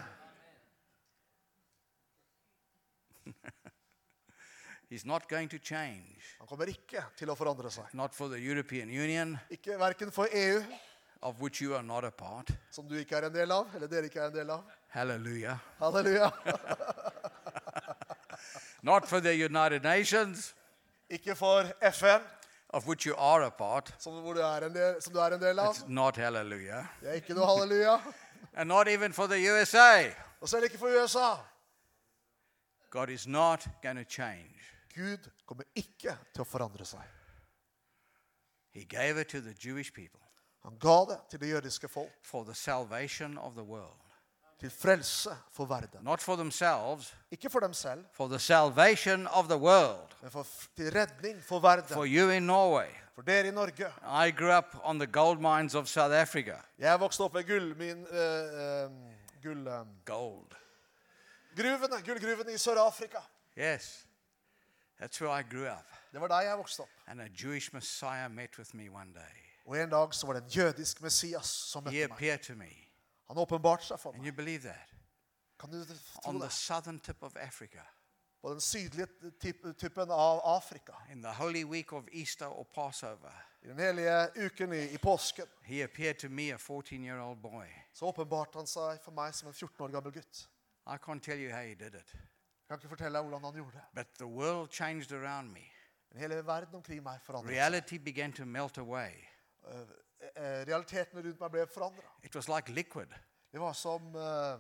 Speaker 1: He's not going to change.
Speaker 2: Han kommer ikke til å forandre seg.
Speaker 1: Not for the European Union,
Speaker 2: Ikke Verken for EU,
Speaker 1: of which you are not a part.
Speaker 2: som du ikke er en del av, eller dere ikke er en del av.
Speaker 1: Hallelujah.
Speaker 2: Halleluja.
Speaker 1: Not for the United Nations.
Speaker 2: Ikke for FN,
Speaker 1: of which you are a part.
Speaker 2: som, hvor du er en del, som du er en del av.
Speaker 1: It's not hallelujah.
Speaker 2: Det er ikke noe halleluja.
Speaker 1: And not even for the USA.
Speaker 2: Og selv ikke for USA.
Speaker 1: God is not going to change.
Speaker 2: Gud kommer ikke til å forandre seg.
Speaker 1: He gave it to the Jewish people
Speaker 2: Han ga det til det jødiske folk,
Speaker 1: for the salvation of the world.
Speaker 2: til frelse for verden.
Speaker 1: Not for themselves,
Speaker 2: Ikke for dem selv,
Speaker 1: for the salvation of the world.
Speaker 2: men for, til redning for verden.
Speaker 1: For you in Norway.
Speaker 2: For dere i Norge.
Speaker 1: I grew up on the gold mines of South Africa.
Speaker 2: Jeg vokste opp ved gullmin... Uh, gull... eh,
Speaker 1: Gold.
Speaker 2: gruvene, gullgruvene i Sør-Afrika.
Speaker 1: Yes. That's where I grew up.
Speaker 2: Det var der jeg vokste opp.
Speaker 1: And a Jewish Messiah met with me one day.
Speaker 2: Og en dag så var det en jødisk Messias som
Speaker 1: He
Speaker 2: møtte meg.
Speaker 1: appeared to me.
Speaker 2: Han åpenbarte seg for
Speaker 1: Can
Speaker 2: meg.
Speaker 1: you believe that?
Speaker 2: Kan du tro
Speaker 1: On
Speaker 2: det?
Speaker 1: the southern tip of Africa.
Speaker 2: På den sydlige tip- typen av Afrika.
Speaker 1: In the holy week of Easter or Passover,
Speaker 2: I den hellige uken i, i påsken
Speaker 1: he appeared to me, a 14 year old boy.
Speaker 2: så åpenbarte han seg for meg som en 14 år gammel gutt.
Speaker 1: I can't tell you how he did it,
Speaker 2: Jeg kan ikke fortelle deg hvordan han gjorde det.
Speaker 1: but the world changed around me.
Speaker 2: Men hele verden omkring meg forandret seg.
Speaker 1: Reality began to melt away.
Speaker 2: Eh, eh, Realitetene rundt meg ble forandra.
Speaker 1: It was like liquid,
Speaker 2: Det var som eh,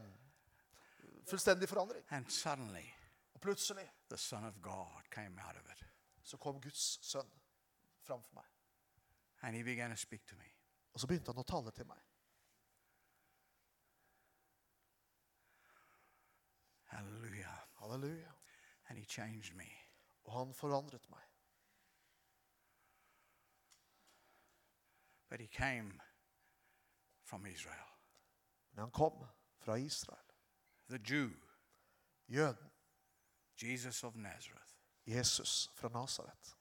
Speaker 2: fullstendig forandring.
Speaker 1: and suddenly
Speaker 2: Og plutselig
Speaker 1: the Son of God came out of it,
Speaker 2: så kom Guds sønn framfor meg.
Speaker 1: and he began to speak to me.
Speaker 2: Og så begynte han å tale til meg.
Speaker 1: Hallelujah.
Speaker 2: Halleluja.
Speaker 1: And he changed me.
Speaker 2: Og han forandret meg.
Speaker 1: But but he came from Israel,
Speaker 2: Men han kom fra Israel.
Speaker 1: the Jew,
Speaker 2: Jøden.
Speaker 1: Jesus of Nazareth.
Speaker 2: Jesus fra Nasaret.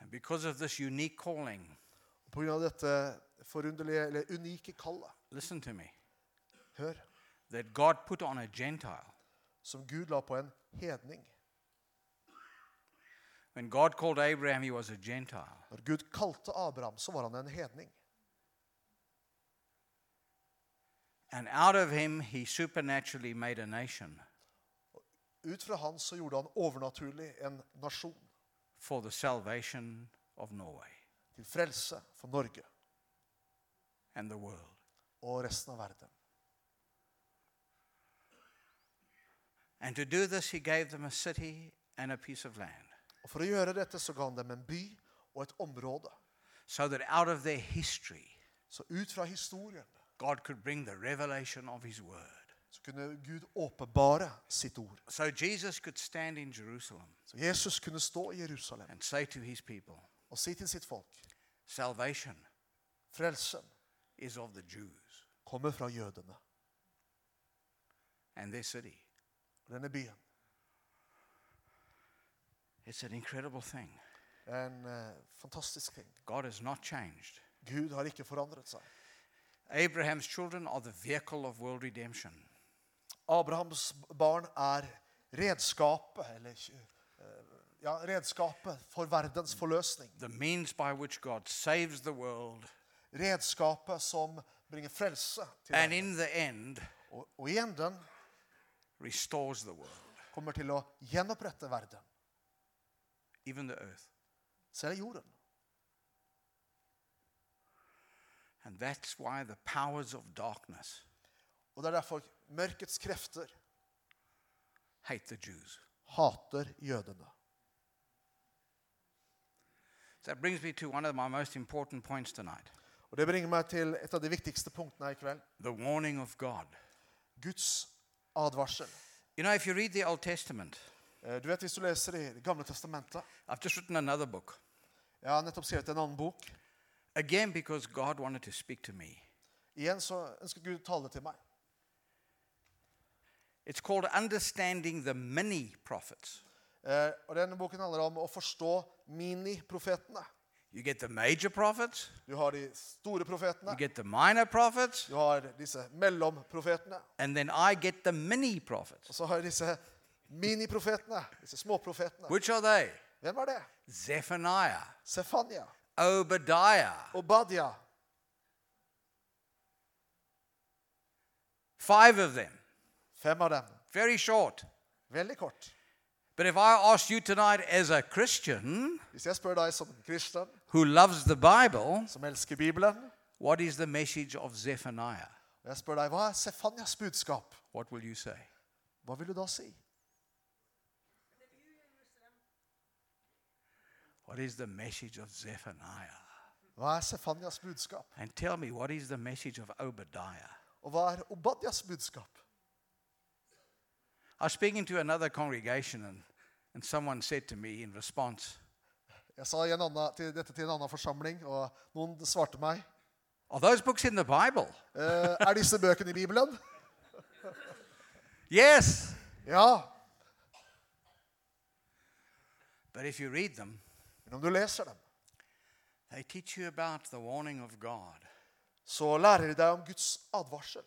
Speaker 1: And because of this unique calling,
Speaker 2: Og på grunn av dette forunderlige, eller unike kallet,
Speaker 1: listen to me,
Speaker 2: hør,
Speaker 1: that God put on a Gentile.
Speaker 2: som Gud la på en hedning.
Speaker 1: When God called Abraham, he was a Gentile.
Speaker 2: Når Gud kalte Abraham, så var han en hedning.
Speaker 1: And out of him, he supernaturally made a nation
Speaker 2: Ut fra han så gjorde han overnaturlig en nasjon
Speaker 1: for the salvation of Norway
Speaker 2: til frelse for Norge
Speaker 1: and the world.
Speaker 2: og resten av verden.
Speaker 1: And to do this, he gave them a city and a piece of land,
Speaker 2: Og For å gjøre dette så ga han dem en by og et område.
Speaker 1: so that out of their history,
Speaker 2: Så ut fra historien
Speaker 1: God could bring the revelation of his word.
Speaker 2: så kunne Gud åpenbare sitt ord.
Speaker 1: So Jesus could stand in Jerusalem
Speaker 2: Så Jesus kunne stå i Jerusalem
Speaker 1: and say to his people,
Speaker 2: og si til sitt folk
Speaker 1: Salvation
Speaker 2: Frelsen
Speaker 1: is of the Jews
Speaker 2: kommer fra jødene.
Speaker 1: and their city.
Speaker 2: Og Denne byen
Speaker 1: It's an incredible thing.
Speaker 2: er en eh, fantastisk ting.
Speaker 1: God has not changed.
Speaker 2: Gud har ikke forandret seg.
Speaker 1: Abraham's children are the vehicle of world redemption.
Speaker 2: Abrahams barn er redskapet, eller eh, ja, redskapet for verdens forløsning.
Speaker 1: the means by which God saves the world,
Speaker 2: Redskapet som bringer frelse til
Speaker 1: and
Speaker 2: verden.
Speaker 1: in the end,
Speaker 2: Og, og i enden
Speaker 1: restores the world,
Speaker 2: kommer til å gjenopprette verden,
Speaker 1: even the earth.
Speaker 2: selv jorden.
Speaker 1: And that's why the powers of darkness
Speaker 2: Og det er derfor mørkets krefter
Speaker 1: hate the Jews.
Speaker 2: hater jødene.
Speaker 1: That brings me to one of my most important points tonight
Speaker 2: Og Det bringer meg til et av de viktigste punktene her i kveld.
Speaker 1: the warning of God.
Speaker 2: Guds advarsel.
Speaker 1: You know, if you read the Old Testament,
Speaker 2: Eh, Du vet Hvis du leser i Det gamle testamentet
Speaker 1: I've just written another book,
Speaker 2: Jeg har nettopp skrevet en annen bok.
Speaker 1: again because God wanted to speak to me.
Speaker 2: Igjen så ønsker Gud tale til meg.
Speaker 1: It's called Understanding the Mini Prophets.
Speaker 2: Eh, Og Denne boken handler om å forstå miniprofetene.
Speaker 1: You get the major prophets,
Speaker 2: Du har de store
Speaker 1: you
Speaker 2: profetene,
Speaker 1: get the minor prophets,
Speaker 2: du har disse mellomprofetene,
Speaker 1: and then I get the mini prophets.
Speaker 2: og så har jeg disse miniprofetene, disse småprofetene.
Speaker 1: Which are they?
Speaker 2: Hvem var det?
Speaker 1: Zephaniah,
Speaker 2: Sefania,
Speaker 1: Obadiah,
Speaker 2: Obadia.
Speaker 1: five of them.
Speaker 2: Fem av dem.
Speaker 1: Very short.
Speaker 2: Veldig kort.
Speaker 1: But if I asked you tonight, as a Christian
Speaker 2: Hvis jeg spør deg som en kristen
Speaker 1: who loves the Bible,
Speaker 2: som elsker Bibelen,
Speaker 1: what is the message of Zephaniah?
Speaker 2: og jeg spør deg hva er Sefanias budskap,
Speaker 1: What will you say?
Speaker 2: hva vil du da si?
Speaker 1: What is the message of Zephaniah?
Speaker 2: Hva er Sefanias budskap?
Speaker 1: And tell me, what is the message of Obadiah?
Speaker 2: Og hva er Obadias budskap?
Speaker 1: I was speaking to another congregation, and, and someone said to me in response,
Speaker 2: Jeg sa i en annen, til, dette til en annen forsamling, og noen svarte meg.
Speaker 1: Are those books in the Bible?
Speaker 2: Eh, er disse bøkene i Bibelen?
Speaker 1: Yes!
Speaker 2: Ja.
Speaker 1: But if you read them,
Speaker 2: Men om du leser dem,
Speaker 1: they teach you about the warning of God,
Speaker 2: så lærer de deg om Guds advarsel,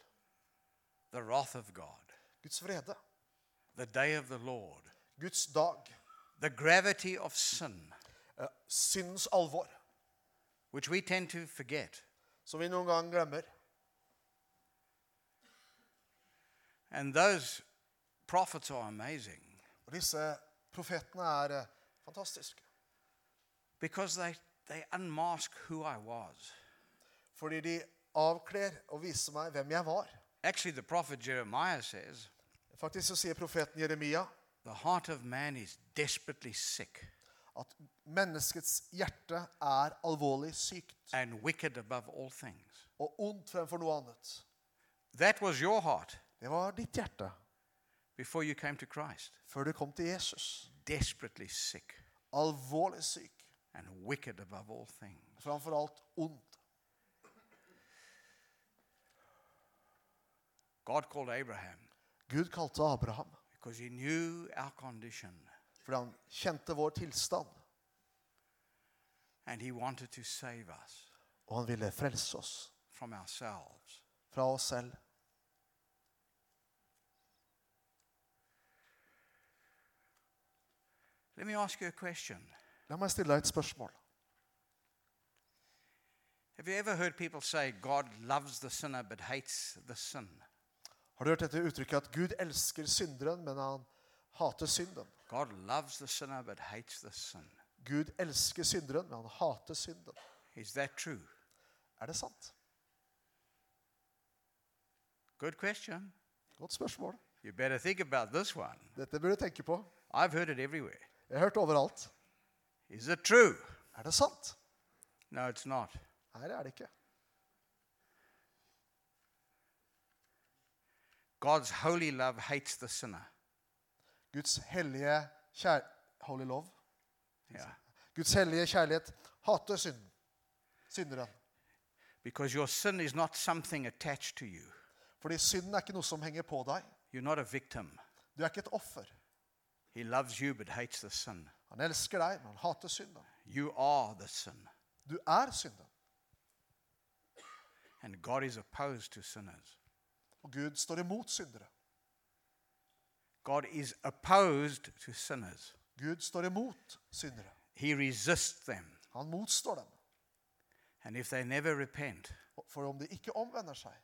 Speaker 1: the wrath of God.
Speaker 2: Guds vrede,
Speaker 1: the day of the Lord,
Speaker 2: Guds dag,
Speaker 1: the gravity of sin,
Speaker 2: eh, syndens alvor,
Speaker 1: which we tend to forget,
Speaker 2: som vi noen gang glemmer.
Speaker 1: and those prophets are amazing
Speaker 2: Og disse profetene er eh, fantastiske,
Speaker 1: because they, they unmask who I was.
Speaker 2: fordi de avkler og viser meg hvem jeg var.
Speaker 1: Actually, the prophet Jeremiah says,
Speaker 2: Faktisk så sier profeten Jeremia
Speaker 1: The heart of man is desperately sick
Speaker 2: at menneskets hjerte er alvorlig sykt
Speaker 1: and wicked above all things.
Speaker 2: og ondt fremfor noe annet.
Speaker 1: That was your heart
Speaker 2: Det var ditt hjerte
Speaker 1: before you came to Christ.
Speaker 2: før du kom til Jesus.
Speaker 1: Desperately sick.
Speaker 2: Alvorlig syk
Speaker 1: and wicked above all things.
Speaker 2: framfor alt ondt.
Speaker 1: God called Abraham
Speaker 2: Gud kalte Abraham
Speaker 1: because he knew our condition
Speaker 2: fordi han kjente vår tilstand,
Speaker 1: and he wanted to save us
Speaker 2: og han ville frelse oss
Speaker 1: from ourselves.
Speaker 2: fra oss selv.
Speaker 1: Let me ask you a question.
Speaker 2: La meg stille deg et spørsmål.
Speaker 1: Have you ever heard people say God loves the sinner but hates the sin?
Speaker 2: Har du hørt dette uttrykket at Gud elsker synderen, men han hater synden?
Speaker 1: God loves the sinner but hates the sin.
Speaker 2: Gud elsker synderen, men han hater synden.
Speaker 1: Is that true?
Speaker 2: Er det sant?
Speaker 1: Good question.
Speaker 2: Godt spørsmål.
Speaker 1: You better think about this one.
Speaker 2: Dette burde du tenke på.
Speaker 1: I've heard it everywhere.
Speaker 2: Jeg har hørt overalt.
Speaker 1: Is it true?
Speaker 2: Er det sant?
Speaker 1: No, it's not.
Speaker 2: Nei, det er det ikke.
Speaker 1: God's holy love hates the sinner.
Speaker 2: Guds hellige kjær... Holy love.
Speaker 1: Yeah.
Speaker 2: Guds hellige kjærlighet hater synden. Synderen.
Speaker 1: Because your sin is not something attached to you.
Speaker 2: Fordi synden er ikke noe som henger på deg.
Speaker 1: You're not a victim.
Speaker 2: Du er ikke et offer.
Speaker 1: He loves you but hates the sin.
Speaker 2: Han elsker deg, men han hater synden.
Speaker 1: You are the sin.
Speaker 2: Du er synden.
Speaker 1: And God is opposed to sinners.
Speaker 2: Og Gud står imot syndere.
Speaker 1: God is opposed to sinners.
Speaker 2: Gud står imot syndere.
Speaker 1: He resists them.
Speaker 2: Han motstår dem.
Speaker 1: And if they never repent,
Speaker 2: Og- For om de ikke omvender seg,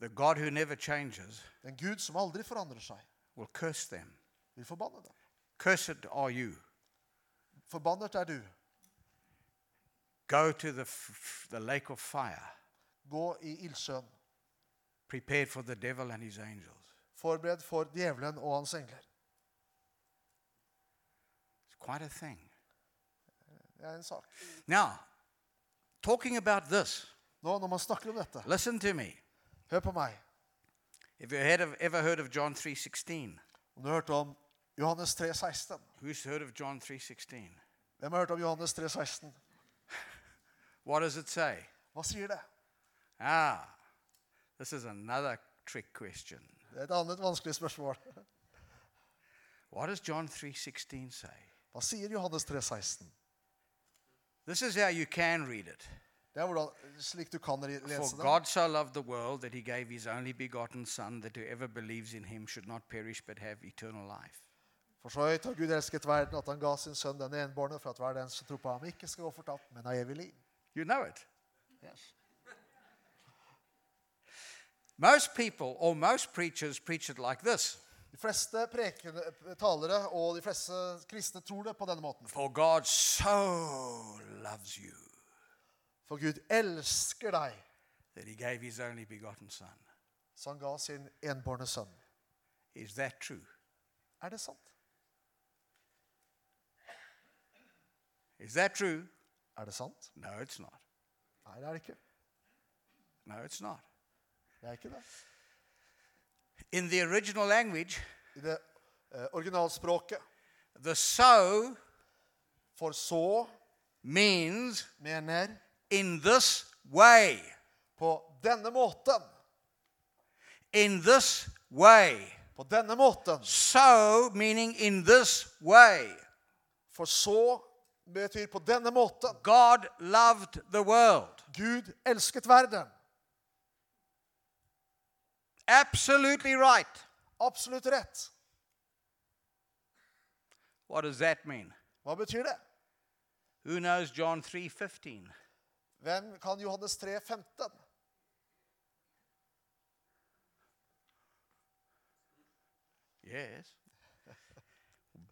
Speaker 1: the God who never changes
Speaker 2: den Gud som aldri forandrer seg,
Speaker 1: will curse them.
Speaker 2: vil forbanne dem.
Speaker 1: Cursed are you.
Speaker 2: Forbannet er du.
Speaker 1: Go to the, f- the lake of fire,
Speaker 2: Gå i ildsjøen.
Speaker 1: prepared for the devil and his angels.
Speaker 2: Forbered for djevelen og hans engler.
Speaker 1: It's quite a thing.
Speaker 2: Det er en sak.
Speaker 1: Now, talking about this,
Speaker 2: Nå, Når man snakker om dette,
Speaker 1: listen to me.
Speaker 2: hør på meg.
Speaker 1: If you had of- ever heard of John 3:16,
Speaker 2: Om du har hørt om Johannes 3, 16.
Speaker 1: who's heard of John 3:16?
Speaker 2: Hvem har hørt om Johannes 3, 16?
Speaker 1: What does it say?
Speaker 2: Hva sier det?
Speaker 1: Ah, this is another trick question.
Speaker 2: Det er et annet vanskelig spørsmål.
Speaker 1: What does John 3:16 say?
Speaker 2: Hva sier Johannes 3, 16?
Speaker 1: This is how you can read it.
Speaker 2: Det er hvordan, slik du kan re-
Speaker 1: For
Speaker 2: lese det.
Speaker 1: God so loved the world that he gave his only begotten Son, that whoever believes in him should not perish but have eternal life.
Speaker 2: For så høyt har Gud elsket verden at han ga sin sønn den enbårne, for at hver den som tror på ham, ikke skal gå fortapt, men har evig liv.
Speaker 1: You know it. Most people or most preachers preach it like this
Speaker 2: De fleste prekende, talere og de fleste kristne tror det på denne måten.
Speaker 1: For God so loves you
Speaker 2: For Gud elsker deg,
Speaker 1: that he gave his only begotten Son.
Speaker 2: så han ga sin enbårne sønn.
Speaker 1: Is that true?
Speaker 2: Er det sant?
Speaker 1: Is that true?
Speaker 2: Er det sant?
Speaker 1: No, it's not.
Speaker 2: Nei, det er det ikke.
Speaker 1: No, it's not.
Speaker 2: Det er ikke det.
Speaker 1: In the original language,
Speaker 2: I det eh, originalspråket
Speaker 1: the so
Speaker 2: for så
Speaker 1: means
Speaker 2: mener
Speaker 1: in this way.
Speaker 2: på denne måten.
Speaker 1: In this way.
Speaker 2: På denne måten.
Speaker 1: So meaning in this way.
Speaker 2: For så betyr på denne måten.
Speaker 1: God loved the world.
Speaker 2: Gud elsket verden.
Speaker 1: Absolutely right.
Speaker 2: Absolutt rett.
Speaker 1: What does that mean?
Speaker 2: Hva betyr det?
Speaker 1: Who knows John 3:15?
Speaker 2: Hvem kan Johannes 3, 15?
Speaker 1: Yes.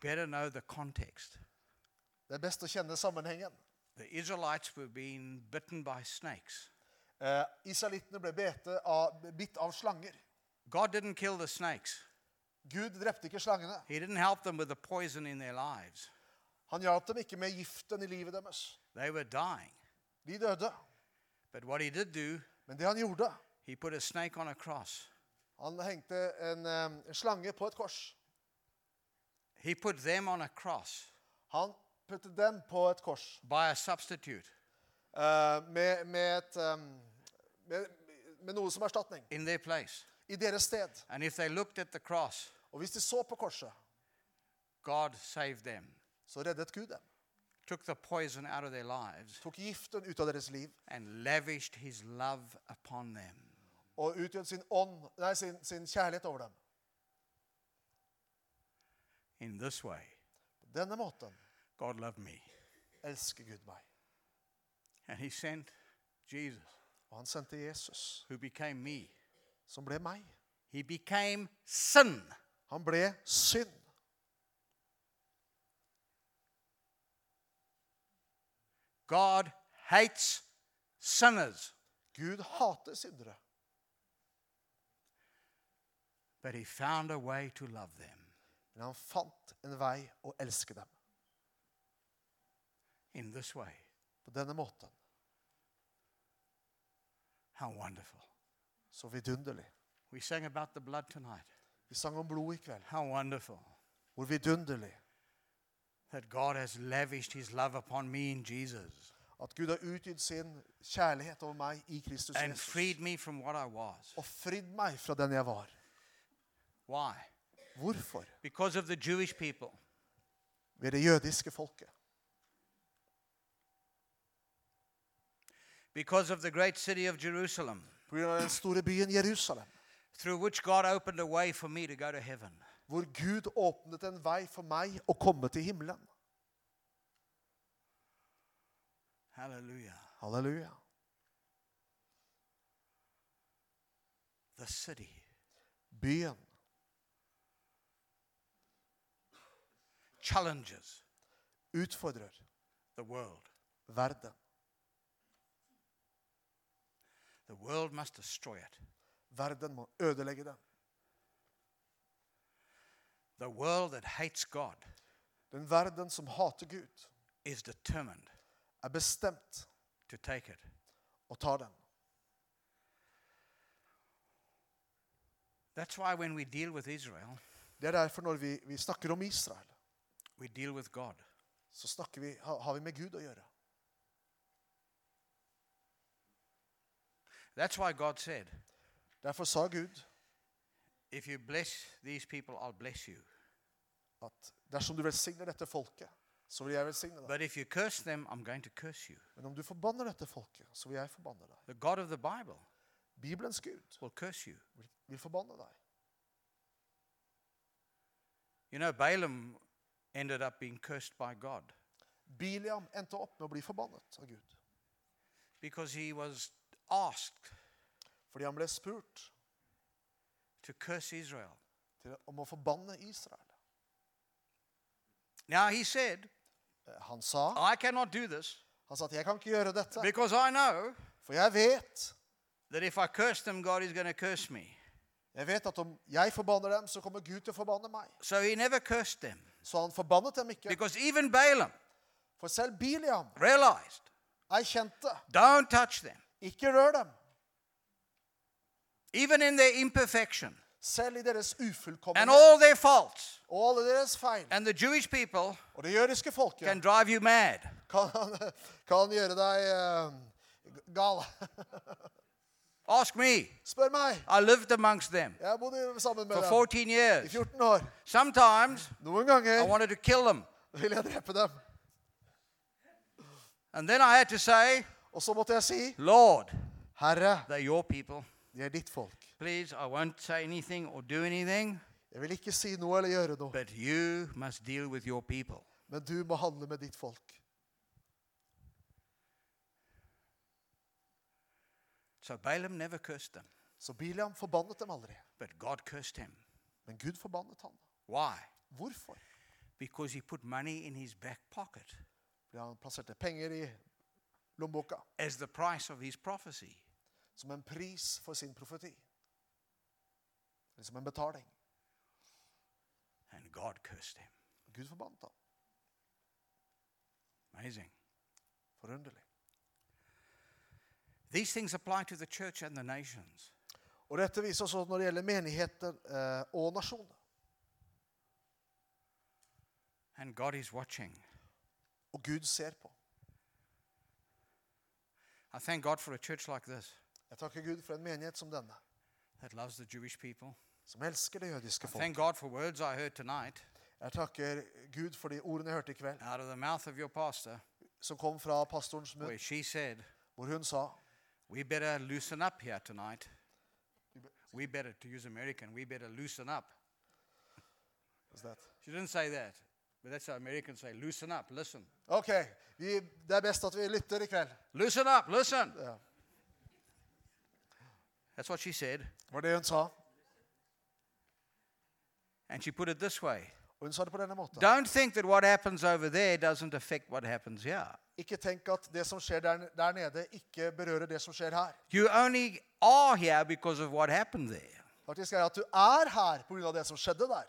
Speaker 1: Better know the context.
Speaker 2: Det er best å kjenne sammenhengen.
Speaker 1: The Israelites were being bitten by snakes.
Speaker 2: Eh, Israelittene ble bete av, bitt av slanger.
Speaker 1: God didn't kill the snakes.
Speaker 2: Gud drepte ikke slangene.
Speaker 1: He didn't help them with the poison in their lives.
Speaker 2: Han hjalp dem ikke med giften i livet deres.
Speaker 1: They were dying.
Speaker 2: De døde.
Speaker 1: But what he did do,
Speaker 2: Men det han gjorde
Speaker 1: he put a snake on a cross.
Speaker 2: Han hengte en, eh, en slange på et kors.
Speaker 1: He put them on a cross.
Speaker 2: Han putte dem på et kors
Speaker 1: by a substitute
Speaker 2: eh, med, med, et, eh, med, med noe som erstatning
Speaker 1: in their place.
Speaker 2: i deres sted.
Speaker 1: And if they looked at the cross,
Speaker 2: Og hvis de så på korset,
Speaker 1: God saved them,
Speaker 2: så reddet Gud dem.
Speaker 1: took the poison out of their lives,
Speaker 2: Tok giften ut av deres liv
Speaker 1: and lavished his love upon them.
Speaker 2: og utgjød sin, ånd, nei, sin, sin kjærlighet over dem.
Speaker 1: In this way,
Speaker 2: På denne måten
Speaker 1: God loved me.
Speaker 2: elsker Gud meg.
Speaker 1: And he sent Jesus,
Speaker 2: Og han sendte Jesus,
Speaker 1: who became me.
Speaker 2: som ble meg.
Speaker 1: He became sin
Speaker 2: Han ble synd.
Speaker 1: God hates sinners,
Speaker 2: Gud hater syndere,
Speaker 1: but he found a way to love them.
Speaker 2: men han fant en vei å elske dem.
Speaker 1: In this way,
Speaker 2: På denne måten.
Speaker 1: how wonderful.
Speaker 2: Så vidunderlig.
Speaker 1: We sang about the blood tonight.
Speaker 2: Vi sang om blod i kveld.
Speaker 1: How wonderful
Speaker 2: Hvor vidunderlig
Speaker 1: that God has lavished his love upon me in Jesus
Speaker 2: at Gud har utgitt sin kjærlighet over meg i Kristus
Speaker 1: and
Speaker 2: Jesus.
Speaker 1: freed me from what I was.
Speaker 2: Og fridd meg fra den jeg var.
Speaker 1: Why?
Speaker 2: Hvorfor?
Speaker 1: Because of the Jewish people.
Speaker 2: Ved det jødiske folket.
Speaker 1: because of the great city of Jerusalem,
Speaker 2: På grunn av den store byen Jerusalem,
Speaker 1: through which God opened a way for me to go to heaven.
Speaker 2: hvor Gud åpnet en vei for meg å komme til himmelen.
Speaker 1: Hallelujah.
Speaker 2: Halleluja.
Speaker 1: The city.
Speaker 2: Byen
Speaker 1: challenges
Speaker 2: utfordrer
Speaker 1: the world.
Speaker 2: verden.
Speaker 1: The world must destroy it.
Speaker 2: Verden må ødelegge den.
Speaker 1: The world that hates God
Speaker 2: Den verden som hater Gud,
Speaker 1: is determined
Speaker 2: er bestemt
Speaker 1: to take it.
Speaker 2: og tar den.
Speaker 1: That's why when we deal with Israel,
Speaker 2: Det er derfor når vi, vi snakker om Israel,
Speaker 1: we deal with God.
Speaker 2: så snakker vi, ha- har vi med Gud å gjøre.
Speaker 1: That's why God said,
Speaker 2: Derfor sa Gud
Speaker 1: If you bless these people, I'll bless you.
Speaker 2: at dersom du velsigner dette folket, så vil jeg velsigne deg.
Speaker 1: But if you curse them, I'm going to curse you.
Speaker 2: Men om du forbanner dette folket, så vil jeg forbanne deg.
Speaker 1: The God of the Bible
Speaker 2: Bibelens Gud
Speaker 1: will curse you.
Speaker 2: vil, vil forbanne deg.
Speaker 1: You know, Balaam ended up being cursed by God.
Speaker 2: Biliam endte opp med å bli forbannet av Gud.
Speaker 1: because he was asked
Speaker 2: Fordi han ble spurt
Speaker 1: to curse Israel.
Speaker 2: til, om å forbanne Israel.
Speaker 1: Now he said,
Speaker 2: Eh, Han sa,
Speaker 1: I cannot do this
Speaker 2: han sa at 'jeg kan ikke gjøre dette,
Speaker 1: because I know
Speaker 2: for jeg vet
Speaker 1: that if I curse them, God is going to curse me.
Speaker 2: Jeg vet at om jeg forbanner dem, så kommer Gud til å forbanne meg.
Speaker 1: So he never cursed them
Speaker 2: Så han forbannet dem ikke.
Speaker 1: because even Balaam
Speaker 2: For selv Biliam
Speaker 1: realized,
Speaker 2: erkjente
Speaker 1: don't touch them.
Speaker 2: ikke rør dem.
Speaker 1: Even in their imperfection
Speaker 2: Selv i deres
Speaker 1: and
Speaker 2: ufullkommenhet
Speaker 1: all their faults,
Speaker 2: og alle deres feil.
Speaker 1: and the Jewish people
Speaker 2: Og det jødiske folket
Speaker 1: can drive you mad.
Speaker 2: kan, kan gjøre deg eh, gal.
Speaker 1: Ask me.
Speaker 2: Spør meg.
Speaker 1: I lived amongst them
Speaker 2: Jeg bodde sammen med
Speaker 1: for
Speaker 2: dem
Speaker 1: 14
Speaker 2: i
Speaker 1: years.
Speaker 2: 14 år.
Speaker 1: Sometimes
Speaker 2: Noen
Speaker 1: I
Speaker 2: ganger
Speaker 1: wanted to kill them.
Speaker 2: ville jeg drepe dem.
Speaker 1: And then I had to say,
Speaker 2: Og så måtte jeg si,
Speaker 1: Lord,
Speaker 2: Herre,
Speaker 1: They're your people.
Speaker 2: de er ditt folk.
Speaker 1: Please, I won't say anything or do anything,
Speaker 2: Jeg vil ikke si noe eller gjøre noe,
Speaker 1: but you must deal with your people.
Speaker 2: men du må handle med ditt folk.
Speaker 1: So Balaam never cursed them,
Speaker 2: Så Biliam forbannet dem aldri.
Speaker 1: but God cursed him.
Speaker 2: Men Gud forbannet han.
Speaker 1: Why?
Speaker 2: Hvorfor?
Speaker 1: Because he put money in his back pocket
Speaker 2: Fordi han plasserte penger i lommeboka
Speaker 1: as the price of his prophecy.
Speaker 2: som en pris for sin profeti. Eller som en betaling.
Speaker 1: And God cursed him.
Speaker 2: Gud forbannet ham.
Speaker 1: Amazing.
Speaker 2: Forunderlig.
Speaker 1: These things apply to the church and the nations.
Speaker 2: Og dette viser oss også når det gjelder menigheter eh, og nasjoner.
Speaker 1: And God is watching.
Speaker 2: Og Gud ser på.
Speaker 1: I thank God for a church like this
Speaker 2: Jeg takker Gud for en menighet som denne,
Speaker 1: that loves the Jewish people.
Speaker 2: som elsker det jødiske
Speaker 1: I thank
Speaker 2: folk.
Speaker 1: God for words I heard tonight
Speaker 2: Jeg takker Gud for de ordene jeg hørte i kveld,
Speaker 1: out of the mouth of your pastor,
Speaker 2: som kom fra pastorens munn,
Speaker 1: where she said,
Speaker 2: hvor hun sa
Speaker 1: We better loosen up here tonight. We better, to use American, we better loosen up.
Speaker 2: What's that?
Speaker 1: She didn't say that, but that's how Americans say loosen up, listen.
Speaker 2: Ok, vi, det er best at vi lytter i kveld.
Speaker 1: Loosen up, listen.
Speaker 2: Ja.
Speaker 1: That's what she said.
Speaker 2: var det hun sa.
Speaker 1: And she put it this way
Speaker 2: Og hun sa det på denne måten.
Speaker 1: Don't think that what happens over there doesn't affect what happens here.
Speaker 2: Ikke tenk at det som skjer der, der nede, ikke berører det som skjer her.
Speaker 1: You only are here because of what happened there.
Speaker 2: Faktisk er det at du er her pga. det som skjedde der.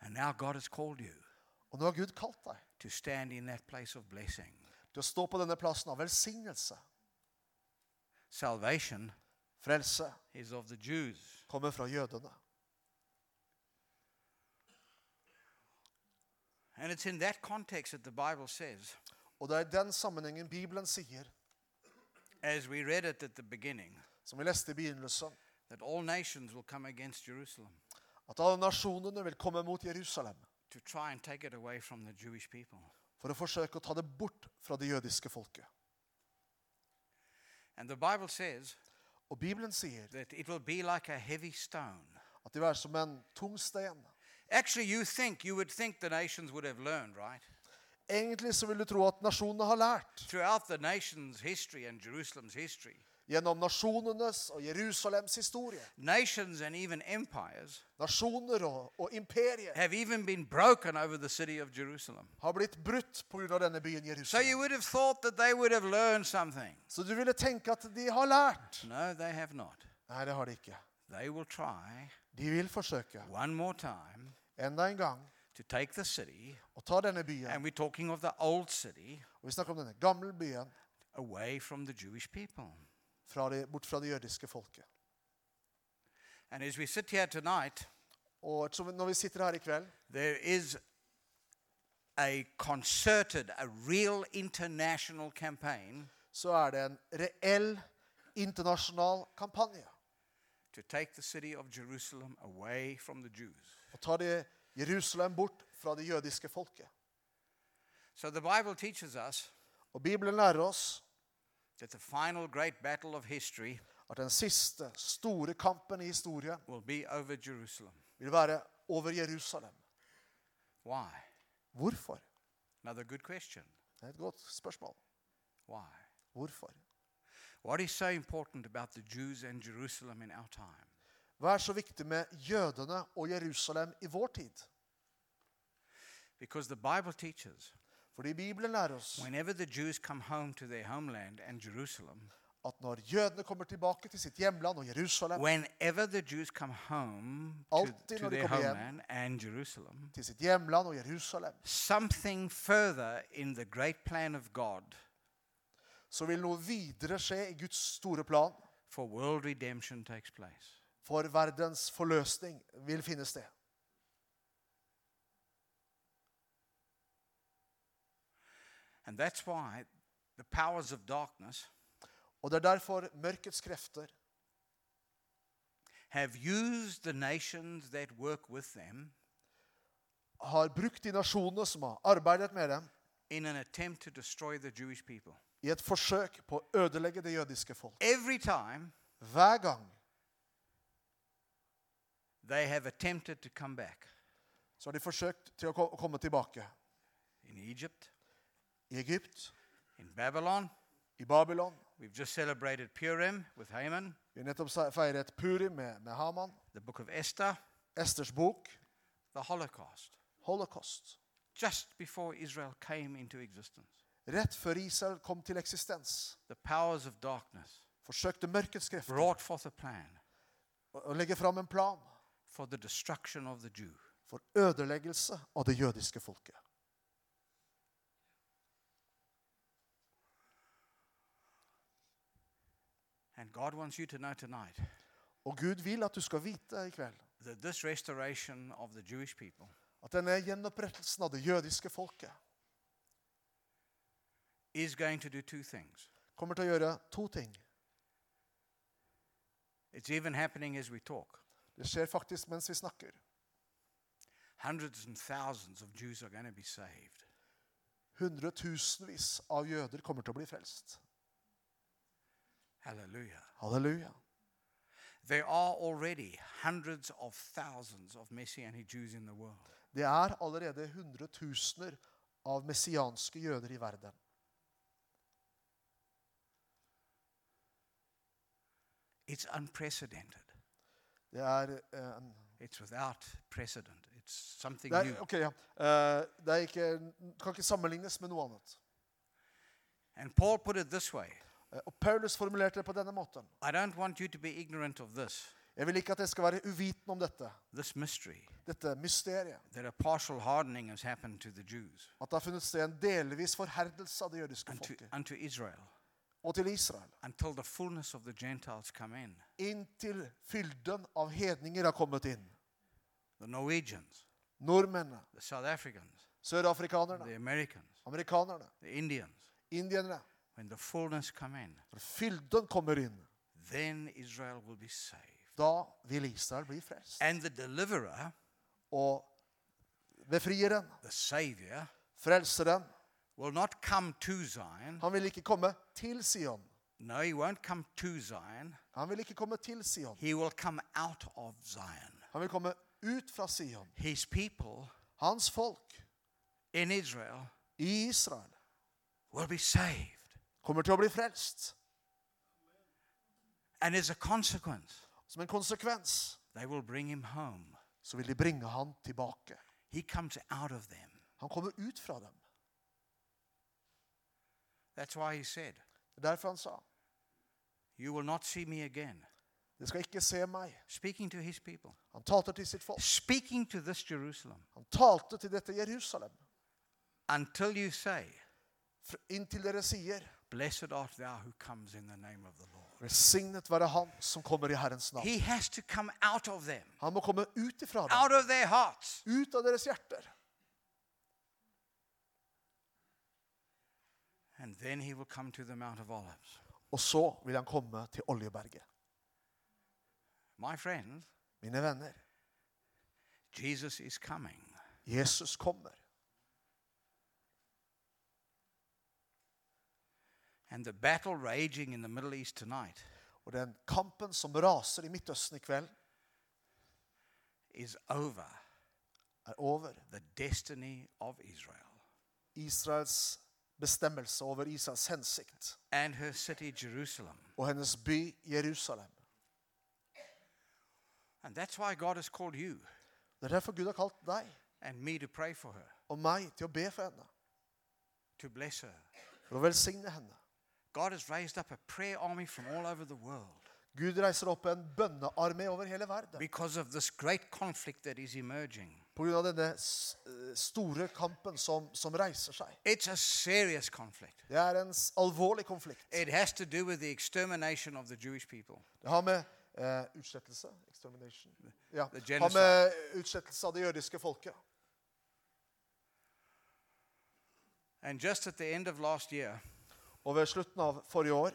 Speaker 1: And now God has called you
Speaker 2: Og nå har Gud kalt deg
Speaker 1: to stand in that place of blessing.
Speaker 2: til å stå på denne plassen av velsignelse.
Speaker 1: Salvation
Speaker 2: Frelse
Speaker 1: is of the Jews.
Speaker 2: kommer fra jødene.
Speaker 1: And it's in that context that the Bible says,
Speaker 2: Og det er i den sammenhengen Bibelen sier,
Speaker 1: as we read it at the beginning,
Speaker 2: som vi leste i begynnelsen,
Speaker 1: that all nations will come against Jerusalem
Speaker 2: at alle nasjonene vil komme mot Jerusalem
Speaker 1: to try and take it away from the Jewish people.
Speaker 2: for å forsøke å ta det bort fra det jødiske folket.
Speaker 1: And the Bible says
Speaker 2: Og Bibelen sier
Speaker 1: that it will be like a heavy stone.
Speaker 2: at de vil være som en tung stein.
Speaker 1: Actually, you think, you would think the nations would have learned, right?
Speaker 2: Egentlig så vil du tro at nasjonene har lært
Speaker 1: Throughout the nation's history and Jerusalem's history,
Speaker 2: gjennom nasjonenes og Jerusalems historie.
Speaker 1: nations and even empires
Speaker 2: Nasjoner og, og imperier
Speaker 1: have even been broken over the city of Jerusalem.
Speaker 2: har blitt brutt pga. denne byen
Speaker 1: So you
Speaker 2: Jerusalem.
Speaker 1: would have thought that they would have learned something.
Speaker 2: Så du ville tenke at de har lært.
Speaker 1: No, they have not.
Speaker 2: Nei, det har de ikke.
Speaker 1: They will try
Speaker 2: De vil forsøke
Speaker 1: one more time
Speaker 2: enda en gang
Speaker 1: to take the city,
Speaker 2: å ta denne byen,
Speaker 1: and we're talking of the old city,
Speaker 2: og vi snakker om denne gamle byen,
Speaker 1: away from the Jewish people.
Speaker 2: fra det, bort fra det jødiske folket.
Speaker 1: And as we sit here tonight,
Speaker 2: Og ettersom vi- når vi sitter her i kveld,
Speaker 1: there is a concerted, a real international campaign
Speaker 2: så er det en reell internasjonal kampanje
Speaker 1: to take the city of Jerusalem away from the Jews.
Speaker 2: å ta det Jerusalem bort fra det jødiske folket.
Speaker 1: So the Bible teaches us
Speaker 2: Og Bibelen lærer oss
Speaker 1: that the final great battle of history
Speaker 2: at den siste store kampen i historien
Speaker 1: will be over Jerusalem.
Speaker 2: vil være over Jerusalem.
Speaker 1: Why?
Speaker 2: Hvorfor?
Speaker 1: Another good question.
Speaker 2: Det er et godt spørsmål.
Speaker 1: Why?
Speaker 2: Hvorfor?
Speaker 1: What is so important about the Jews and Jerusalem in our time?
Speaker 2: Hva er så viktig med jødene og Jerusalem i vår tid?
Speaker 1: Because the Bible teaches
Speaker 2: Fordi Bibelen lærer oss
Speaker 1: whenever the Jews come home to their homeland and Jerusalem,
Speaker 2: at når jødene kommer tilbake til sitt hjemland og Jerusalem,
Speaker 1: whenever the Jews come home to,
Speaker 2: Alltid
Speaker 1: to
Speaker 2: når de
Speaker 1: their
Speaker 2: kommer hjem.
Speaker 1: homeland and Jerusalem,
Speaker 2: til sitt hjemland og Jerusalem,
Speaker 1: something further in the great plan of God
Speaker 2: så vil noe videre skje i Guds store plan,
Speaker 1: for world redemption takes place.
Speaker 2: for verdens forløsning vil finne sted.
Speaker 1: And that's why the powers of darkness
Speaker 2: Og det er derfor mørkets krefter
Speaker 1: have used the nations that work with them
Speaker 2: har brukt de nasjonene som har arbeidet med dem,
Speaker 1: in an attempt to destroy the Jewish people.
Speaker 2: i et forsøk på å ødelegge det jødiske folk.
Speaker 1: Every time
Speaker 2: Hver gang
Speaker 1: they have attempted to come back
Speaker 2: så har de forsøkt til å ko- komme tilbake.
Speaker 1: in Egypt,
Speaker 2: I Egypt,
Speaker 1: in Babylon,
Speaker 2: i Babylon.
Speaker 1: we've just celebrated Purim with Haman,
Speaker 2: Vi har nettopp se- feiret Purim med, med Haman.
Speaker 1: the book of Esther,
Speaker 2: Esters bok,
Speaker 1: the Holocaust,
Speaker 2: Holocaust.
Speaker 1: just before Israel came into existence.
Speaker 2: Rett før Israel kom til eksistens,
Speaker 1: The powers of darkness
Speaker 2: forsøkte mørkets krefter å
Speaker 1: brought forth a plan
Speaker 2: å legge fram en plan
Speaker 1: for the destruction of the Jew.
Speaker 2: for ødeleggelse av det jødiske folket.
Speaker 1: And God wants you to know tonight
Speaker 2: Og Gud vil at du skal vite i kveld
Speaker 1: that this restoration of the Jewish people
Speaker 2: at denne gjenopprettelsen av det jødiske folket
Speaker 1: is going to do two things.
Speaker 2: kommer til å gjøre to ting.
Speaker 1: It's even happening as we talk.
Speaker 2: Det skjer faktisk mens vi snakker.
Speaker 1: Hundreds and thousands of Jews are going to be saved.
Speaker 2: Hundretusenvis av jøder kommer til å bli frelst.
Speaker 1: Hallelujah.
Speaker 2: Halleluja.
Speaker 1: There are already hundreds of thousands of Messianic Jews in the world.
Speaker 2: Det er allerede hundretusener av messianske jøder i verden.
Speaker 1: It's unprecedented.
Speaker 2: Det er eh, en
Speaker 1: It's without precedent. It's something
Speaker 2: det er,
Speaker 1: new.
Speaker 2: ok, ja. Eh, det er ikke, kan ikke sammenlignes med noe annet.
Speaker 1: And Paul put it this way
Speaker 2: Eh, og Paulus formulerte det på denne måten.
Speaker 1: I don't want you to be ignorant of this,
Speaker 2: Jeg vil ikke at jeg skal være uviten om dette,
Speaker 1: this mystery,
Speaker 2: dette mysteriet.
Speaker 1: that a partial hardening has happened to the Jews
Speaker 2: At det har funnet sted en delvis forherdelse av det jødiske
Speaker 1: unto,
Speaker 2: folket.
Speaker 1: unto Israel
Speaker 2: Og til Israel.
Speaker 1: until the fullness of the Gentiles come in.
Speaker 2: Inntil fylden av hedninger har kommet inn.
Speaker 1: The Norwegians,
Speaker 2: Nordmennene,
Speaker 1: the South Africans,
Speaker 2: sørafrikanerne,
Speaker 1: the Americans,
Speaker 2: amerikanerne,
Speaker 1: the Indians.
Speaker 2: indierne.
Speaker 1: When the fullness come in,
Speaker 2: Når fylden kommer inn,
Speaker 1: then Israel will be saved.
Speaker 2: da vil Israel bli frelst.
Speaker 1: And the deliverer,
Speaker 2: Og befrieren,
Speaker 1: the Savior,
Speaker 2: frelseren,
Speaker 1: will not come to Zion.
Speaker 2: han vil ikke komme til Sion.
Speaker 1: No, he won't come to Zion.
Speaker 2: Han vil ikke komme til Sion.
Speaker 1: He will come out of Zion.
Speaker 2: Han vil komme ut fra Sion.
Speaker 1: His people
Speaker 2: Hans folk
Speaker 1: in Israel
Speaker 2: i Israel
Speaker 1: will be saved.
Speaker 2: kommer til å bli frelst.
Speaker 1: And as a consequence,
Speaker 2: Som en konsekvens
Speaker 1: they will bring him home.
Speaker 2: så vil de bringe han tilbake.
Speaker 1: He comes out of them.
Speaker 2: Han kommer ut fra dem.
Speaker 1: That's why he said,
Speaker 2: Det er derfor han sa,
Speaker 1: You will not see me again.
Speaker 2: de skal ikke se meg.
Speaker 1: Speaking to his people,
Speaker 2: Han talte til sitt folk.
Speaker 1: speaking to this Jerusalem,
Speaker 2: Han talte til dette Jerusalem.
Speaker 1: until you say,
Speaker 2: Fr- Inntil dere sier,
Speaker 1: Blessed art thou who comes in the name of the Lord.
Speaker 2: velsignet være han som kommer i Herrens navn.
Speaker 1: He has to come out of them,
Speaker 2: Han må komme ut ifra dem.
Speaker 1: out of their hearts.
Speaker 2: Ut av deres hjerter.
Speaker 1: And then he will come to the Mount of Olives.
Speaker 2: Og så vil han komme til Oljeberget.
Speaker 1: My friends,
Speaker 2: Mine venner,
Speaker 1: Jesus is coming.
Speaker 2: Jesus kommer.
Speaker 1: And the battle raging in the Middle East tonight
Speaker 2: Og den kampen som raser i Midtøsten i kveld,
Speaker 1: is over
Speaker 2: er over.
Speaker 1: the destiny of Israel
Speaker 2: Israels bestemmelse over Israels hensikt
Speaker 1: and her city, Jerusalem.
Speaker 2: og hennes by Jerusalem.
Speaker 1: And that's why God has called you
Speaker 2: Det er derfor Gud har kalt deg
Speaker 1: and me to pray for her,
Speaker 2: og meg til å be for henne,
Speaker 1: to bless her.
Speaker 2: for å velsigne henne.
Speaker 1: God has raised up a prayer army from all over the world
Speaker 2: Gud reiser opp en bønnearmé over hele verden
Speaker 1: because of this great conflict that is emerging.
Speaker 2: pga. denne s- eh, store kampen som, som reiser seg.
Speaker 1: It's a serious conflict.
Speaker 2: Det er en s- alvorlig konflikt.
Speaker 1: It has to do with the extermination of the Jewish people.
Speaker 2: Det har med eh, utslettelse extermination. Ja,
Speaker 1: The
Speaker 2: det har med utslettelse av det jødiske folket.
Speaker 1: And just at the end of last year,
Speaker 2: Og ved slutten av forrige år,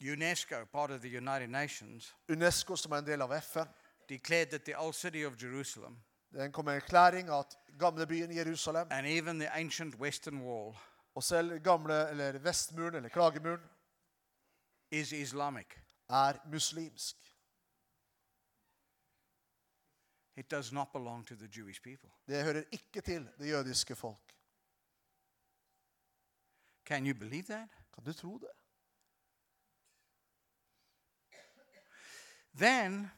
Speaker 1: UNESCO, part of the United Nations,
Speaker 2: UNESCO, som er en del av FN,
Speaker 1: declared that the old city of Jerusalem
Speaker 2: den kom med en erklæring av at gamlebyen Jerusalem
Speaker 1: and even the ancient Western Wall
Speaker 2: og selv gamle, eller Vestmuren eller Klagemuren
Speaker 1: is Islamic.
Speaker 2: er muslimsk.
Speaker 1: It does not belong to the Jewish people.
Speaker 2: Det hører ikke til det jødiske folk.
Speaker 1: Can you believe that?
Speaker 2: Kan du tro det?
Speaker 1: Then,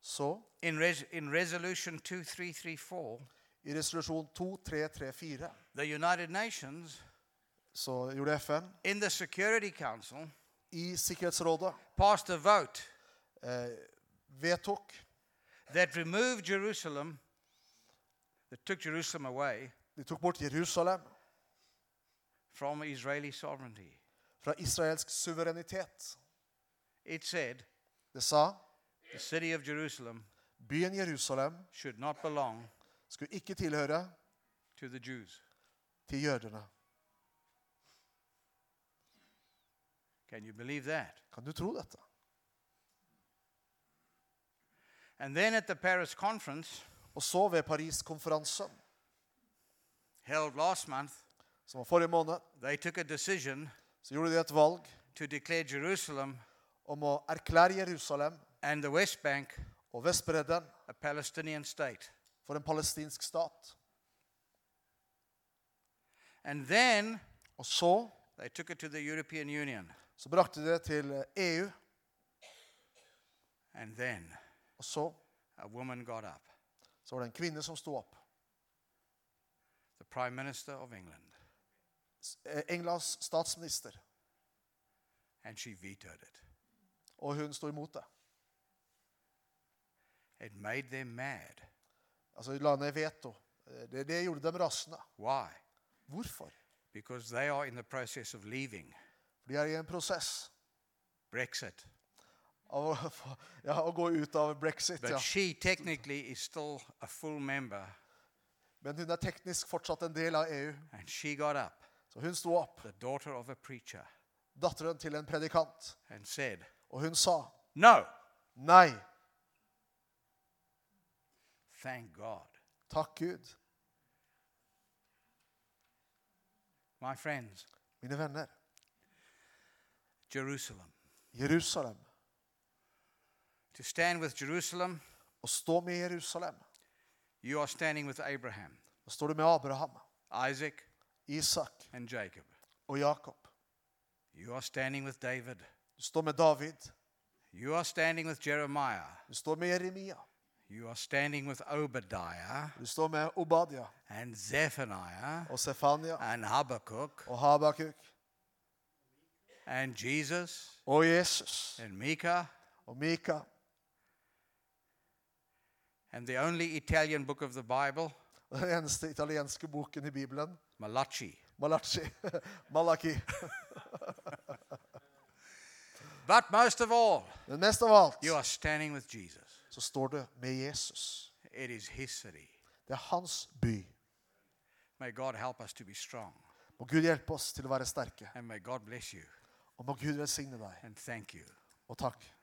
Speaker 2: Så
Speaker 1: in, res- in Resolution 2334,
Speaker 2: i resolusjon 2334
Speaker 1: the United Nations,
Speaker 2: så gjorde FN
Speaker 1: in the Security Council,
Speaker 2: i Sikkerhetsrådet
Speaker 1: passed a vote
Speaker 2: eh, vedtok
Speaker 1: that removed Jerusalem, that took Jerusalem away
Speaker 2: De tok bort Jerusalem
Speaker 1: from Israeli sovereignty.
Speaker 2: fra israelsk suverenitet.
Speaker 1: It said
Speaker 2: Det sa
Speaker 1: the city of Jerusalem
Speaker 2: byen Jerusalem
Speaker 1: should not belong
Speaker 2: skulle ikke tilhøre
Speaker 1: to the Jews.
Speaker 2: til jødene.
Speaker 1: Can you believe that?
Speaker 2: Kan du tro dette?
Speaker 1: And then at the Paris conference
Speaker 2: Og så ved Paris-konferansen,
Speaker 1: held last month,
Speaker 2: som var forrige måned,
Speaker 1: they took a decision
Speaker 2: så gjorde de et valg
Speaker 1: to declare Jerusalem
Speaker 2: om å erklære Jerusalem
Speaker 1: and the West Bank
Speaker 2: og Vestbredden
Speaker 1: a Palestinian state.
Speaker 2: for en palestinsk stat.
Speaker 1: And then
Speaker 2: Og så,
Speaker 1: they took it to the European Union.
Speaker 2: så brakte de det til E EU,
Speaker 1: And then
Speaker 2: og så,
Speaker 1: a woman got up,
Speaker 2: så var det en kvinne som sto opp.
Speaker 1: the Prime Minister of England,
Speaker 2: S- eh, Englands statsminister,
Speaker 1: and she vetoed it.
Speaker 2: og hun sto imot det.
Speaker 1: It made them mad.
Speaker 2: Altså, de la ned veto. Eh, Det, det gjorde dem rasende.
Speaker 1: Why?
Speaker 2: Hvorfor?
Speaker 1: Because they are in the process of leaving
Speaker 2: For de er i en prosess
Speaker 1: Brexit.
Speaker 2: av å, få- ja, å gå ut av brexit.
Speaker 1: But
Speaker 2: Ja.
Speaker 1: she technically is still a full member,
Speaker 2: Men hun er teknisk fortsatt en del av EU.
Speaker 1: and she got up,
Speaker 2: Så hun sto opp,
Speaker 1: the daughter of a preacher,
Speaker 2: datteren til en predikant,
Speaker 1: and said,
Speaker 2: og hun sa
Speaker 1: No,
Speaker 2: nei,
Speaker 1: thank God.
Speaker 2: takk Gud.
Speaker 1: My friends,
Speaker 2: Mine venner,
Speaker 1: Jerusalem.
Speaker 2: Jerusalem,
Speaker 1: To stand with Jerusalem,
Speaker 2: og stå med Jerusalem.
Speaker 1: you are standing with Abraham,
Speaker 2: Da står du med Abraham,
Speaker 1: Isaac,
Speaker 2: Isak
Speaker 1: and Jacob.
Speaker 2: og Jakob.
Speaker 1: You are standing with David.
Speaker 2: Du står med David.
Speaker 1: You are standing with Jeremiah.
Speaker 2: Du står med Jeremia.
Speaker 1: You are standing with Obadiah
Speaker 2: Du står med Obadia
Speaker 1: and Zephaniah
Speaker 2: og Sefania
Speaker 1: and Habakkuk
Speaker 2: og Habakuk
Speaker 1: and Jesus
Speaker 2: og Jesus
Speaker 1: and Micah
Speaker 2: og Mika
Speaker 1: and the only Italian book of the Bible,
Speaker 2: og den eneste italienske boken i Bibelen,
Speaker 1: Malachi.
Speaker 2: Malachi. Malaki.
Speaker 1: But most of all,
Speaker 2: Men mest av alt
Speaker 1: you are standing with Jesus.
Speaker 2: så står du med Jesus.
Speaker 1: It is his city.
Speaker 2: Det er hans by.
Speaker 1: May God help us to be strong.
Speaker 2: Må Gud hjelpe oss til å være sterke.
Speaker 1: And may God bless you
Speaker 2: Og må Gud velsigne deg.
Speaker 1: and thank you.
Speaker 2: Og takk.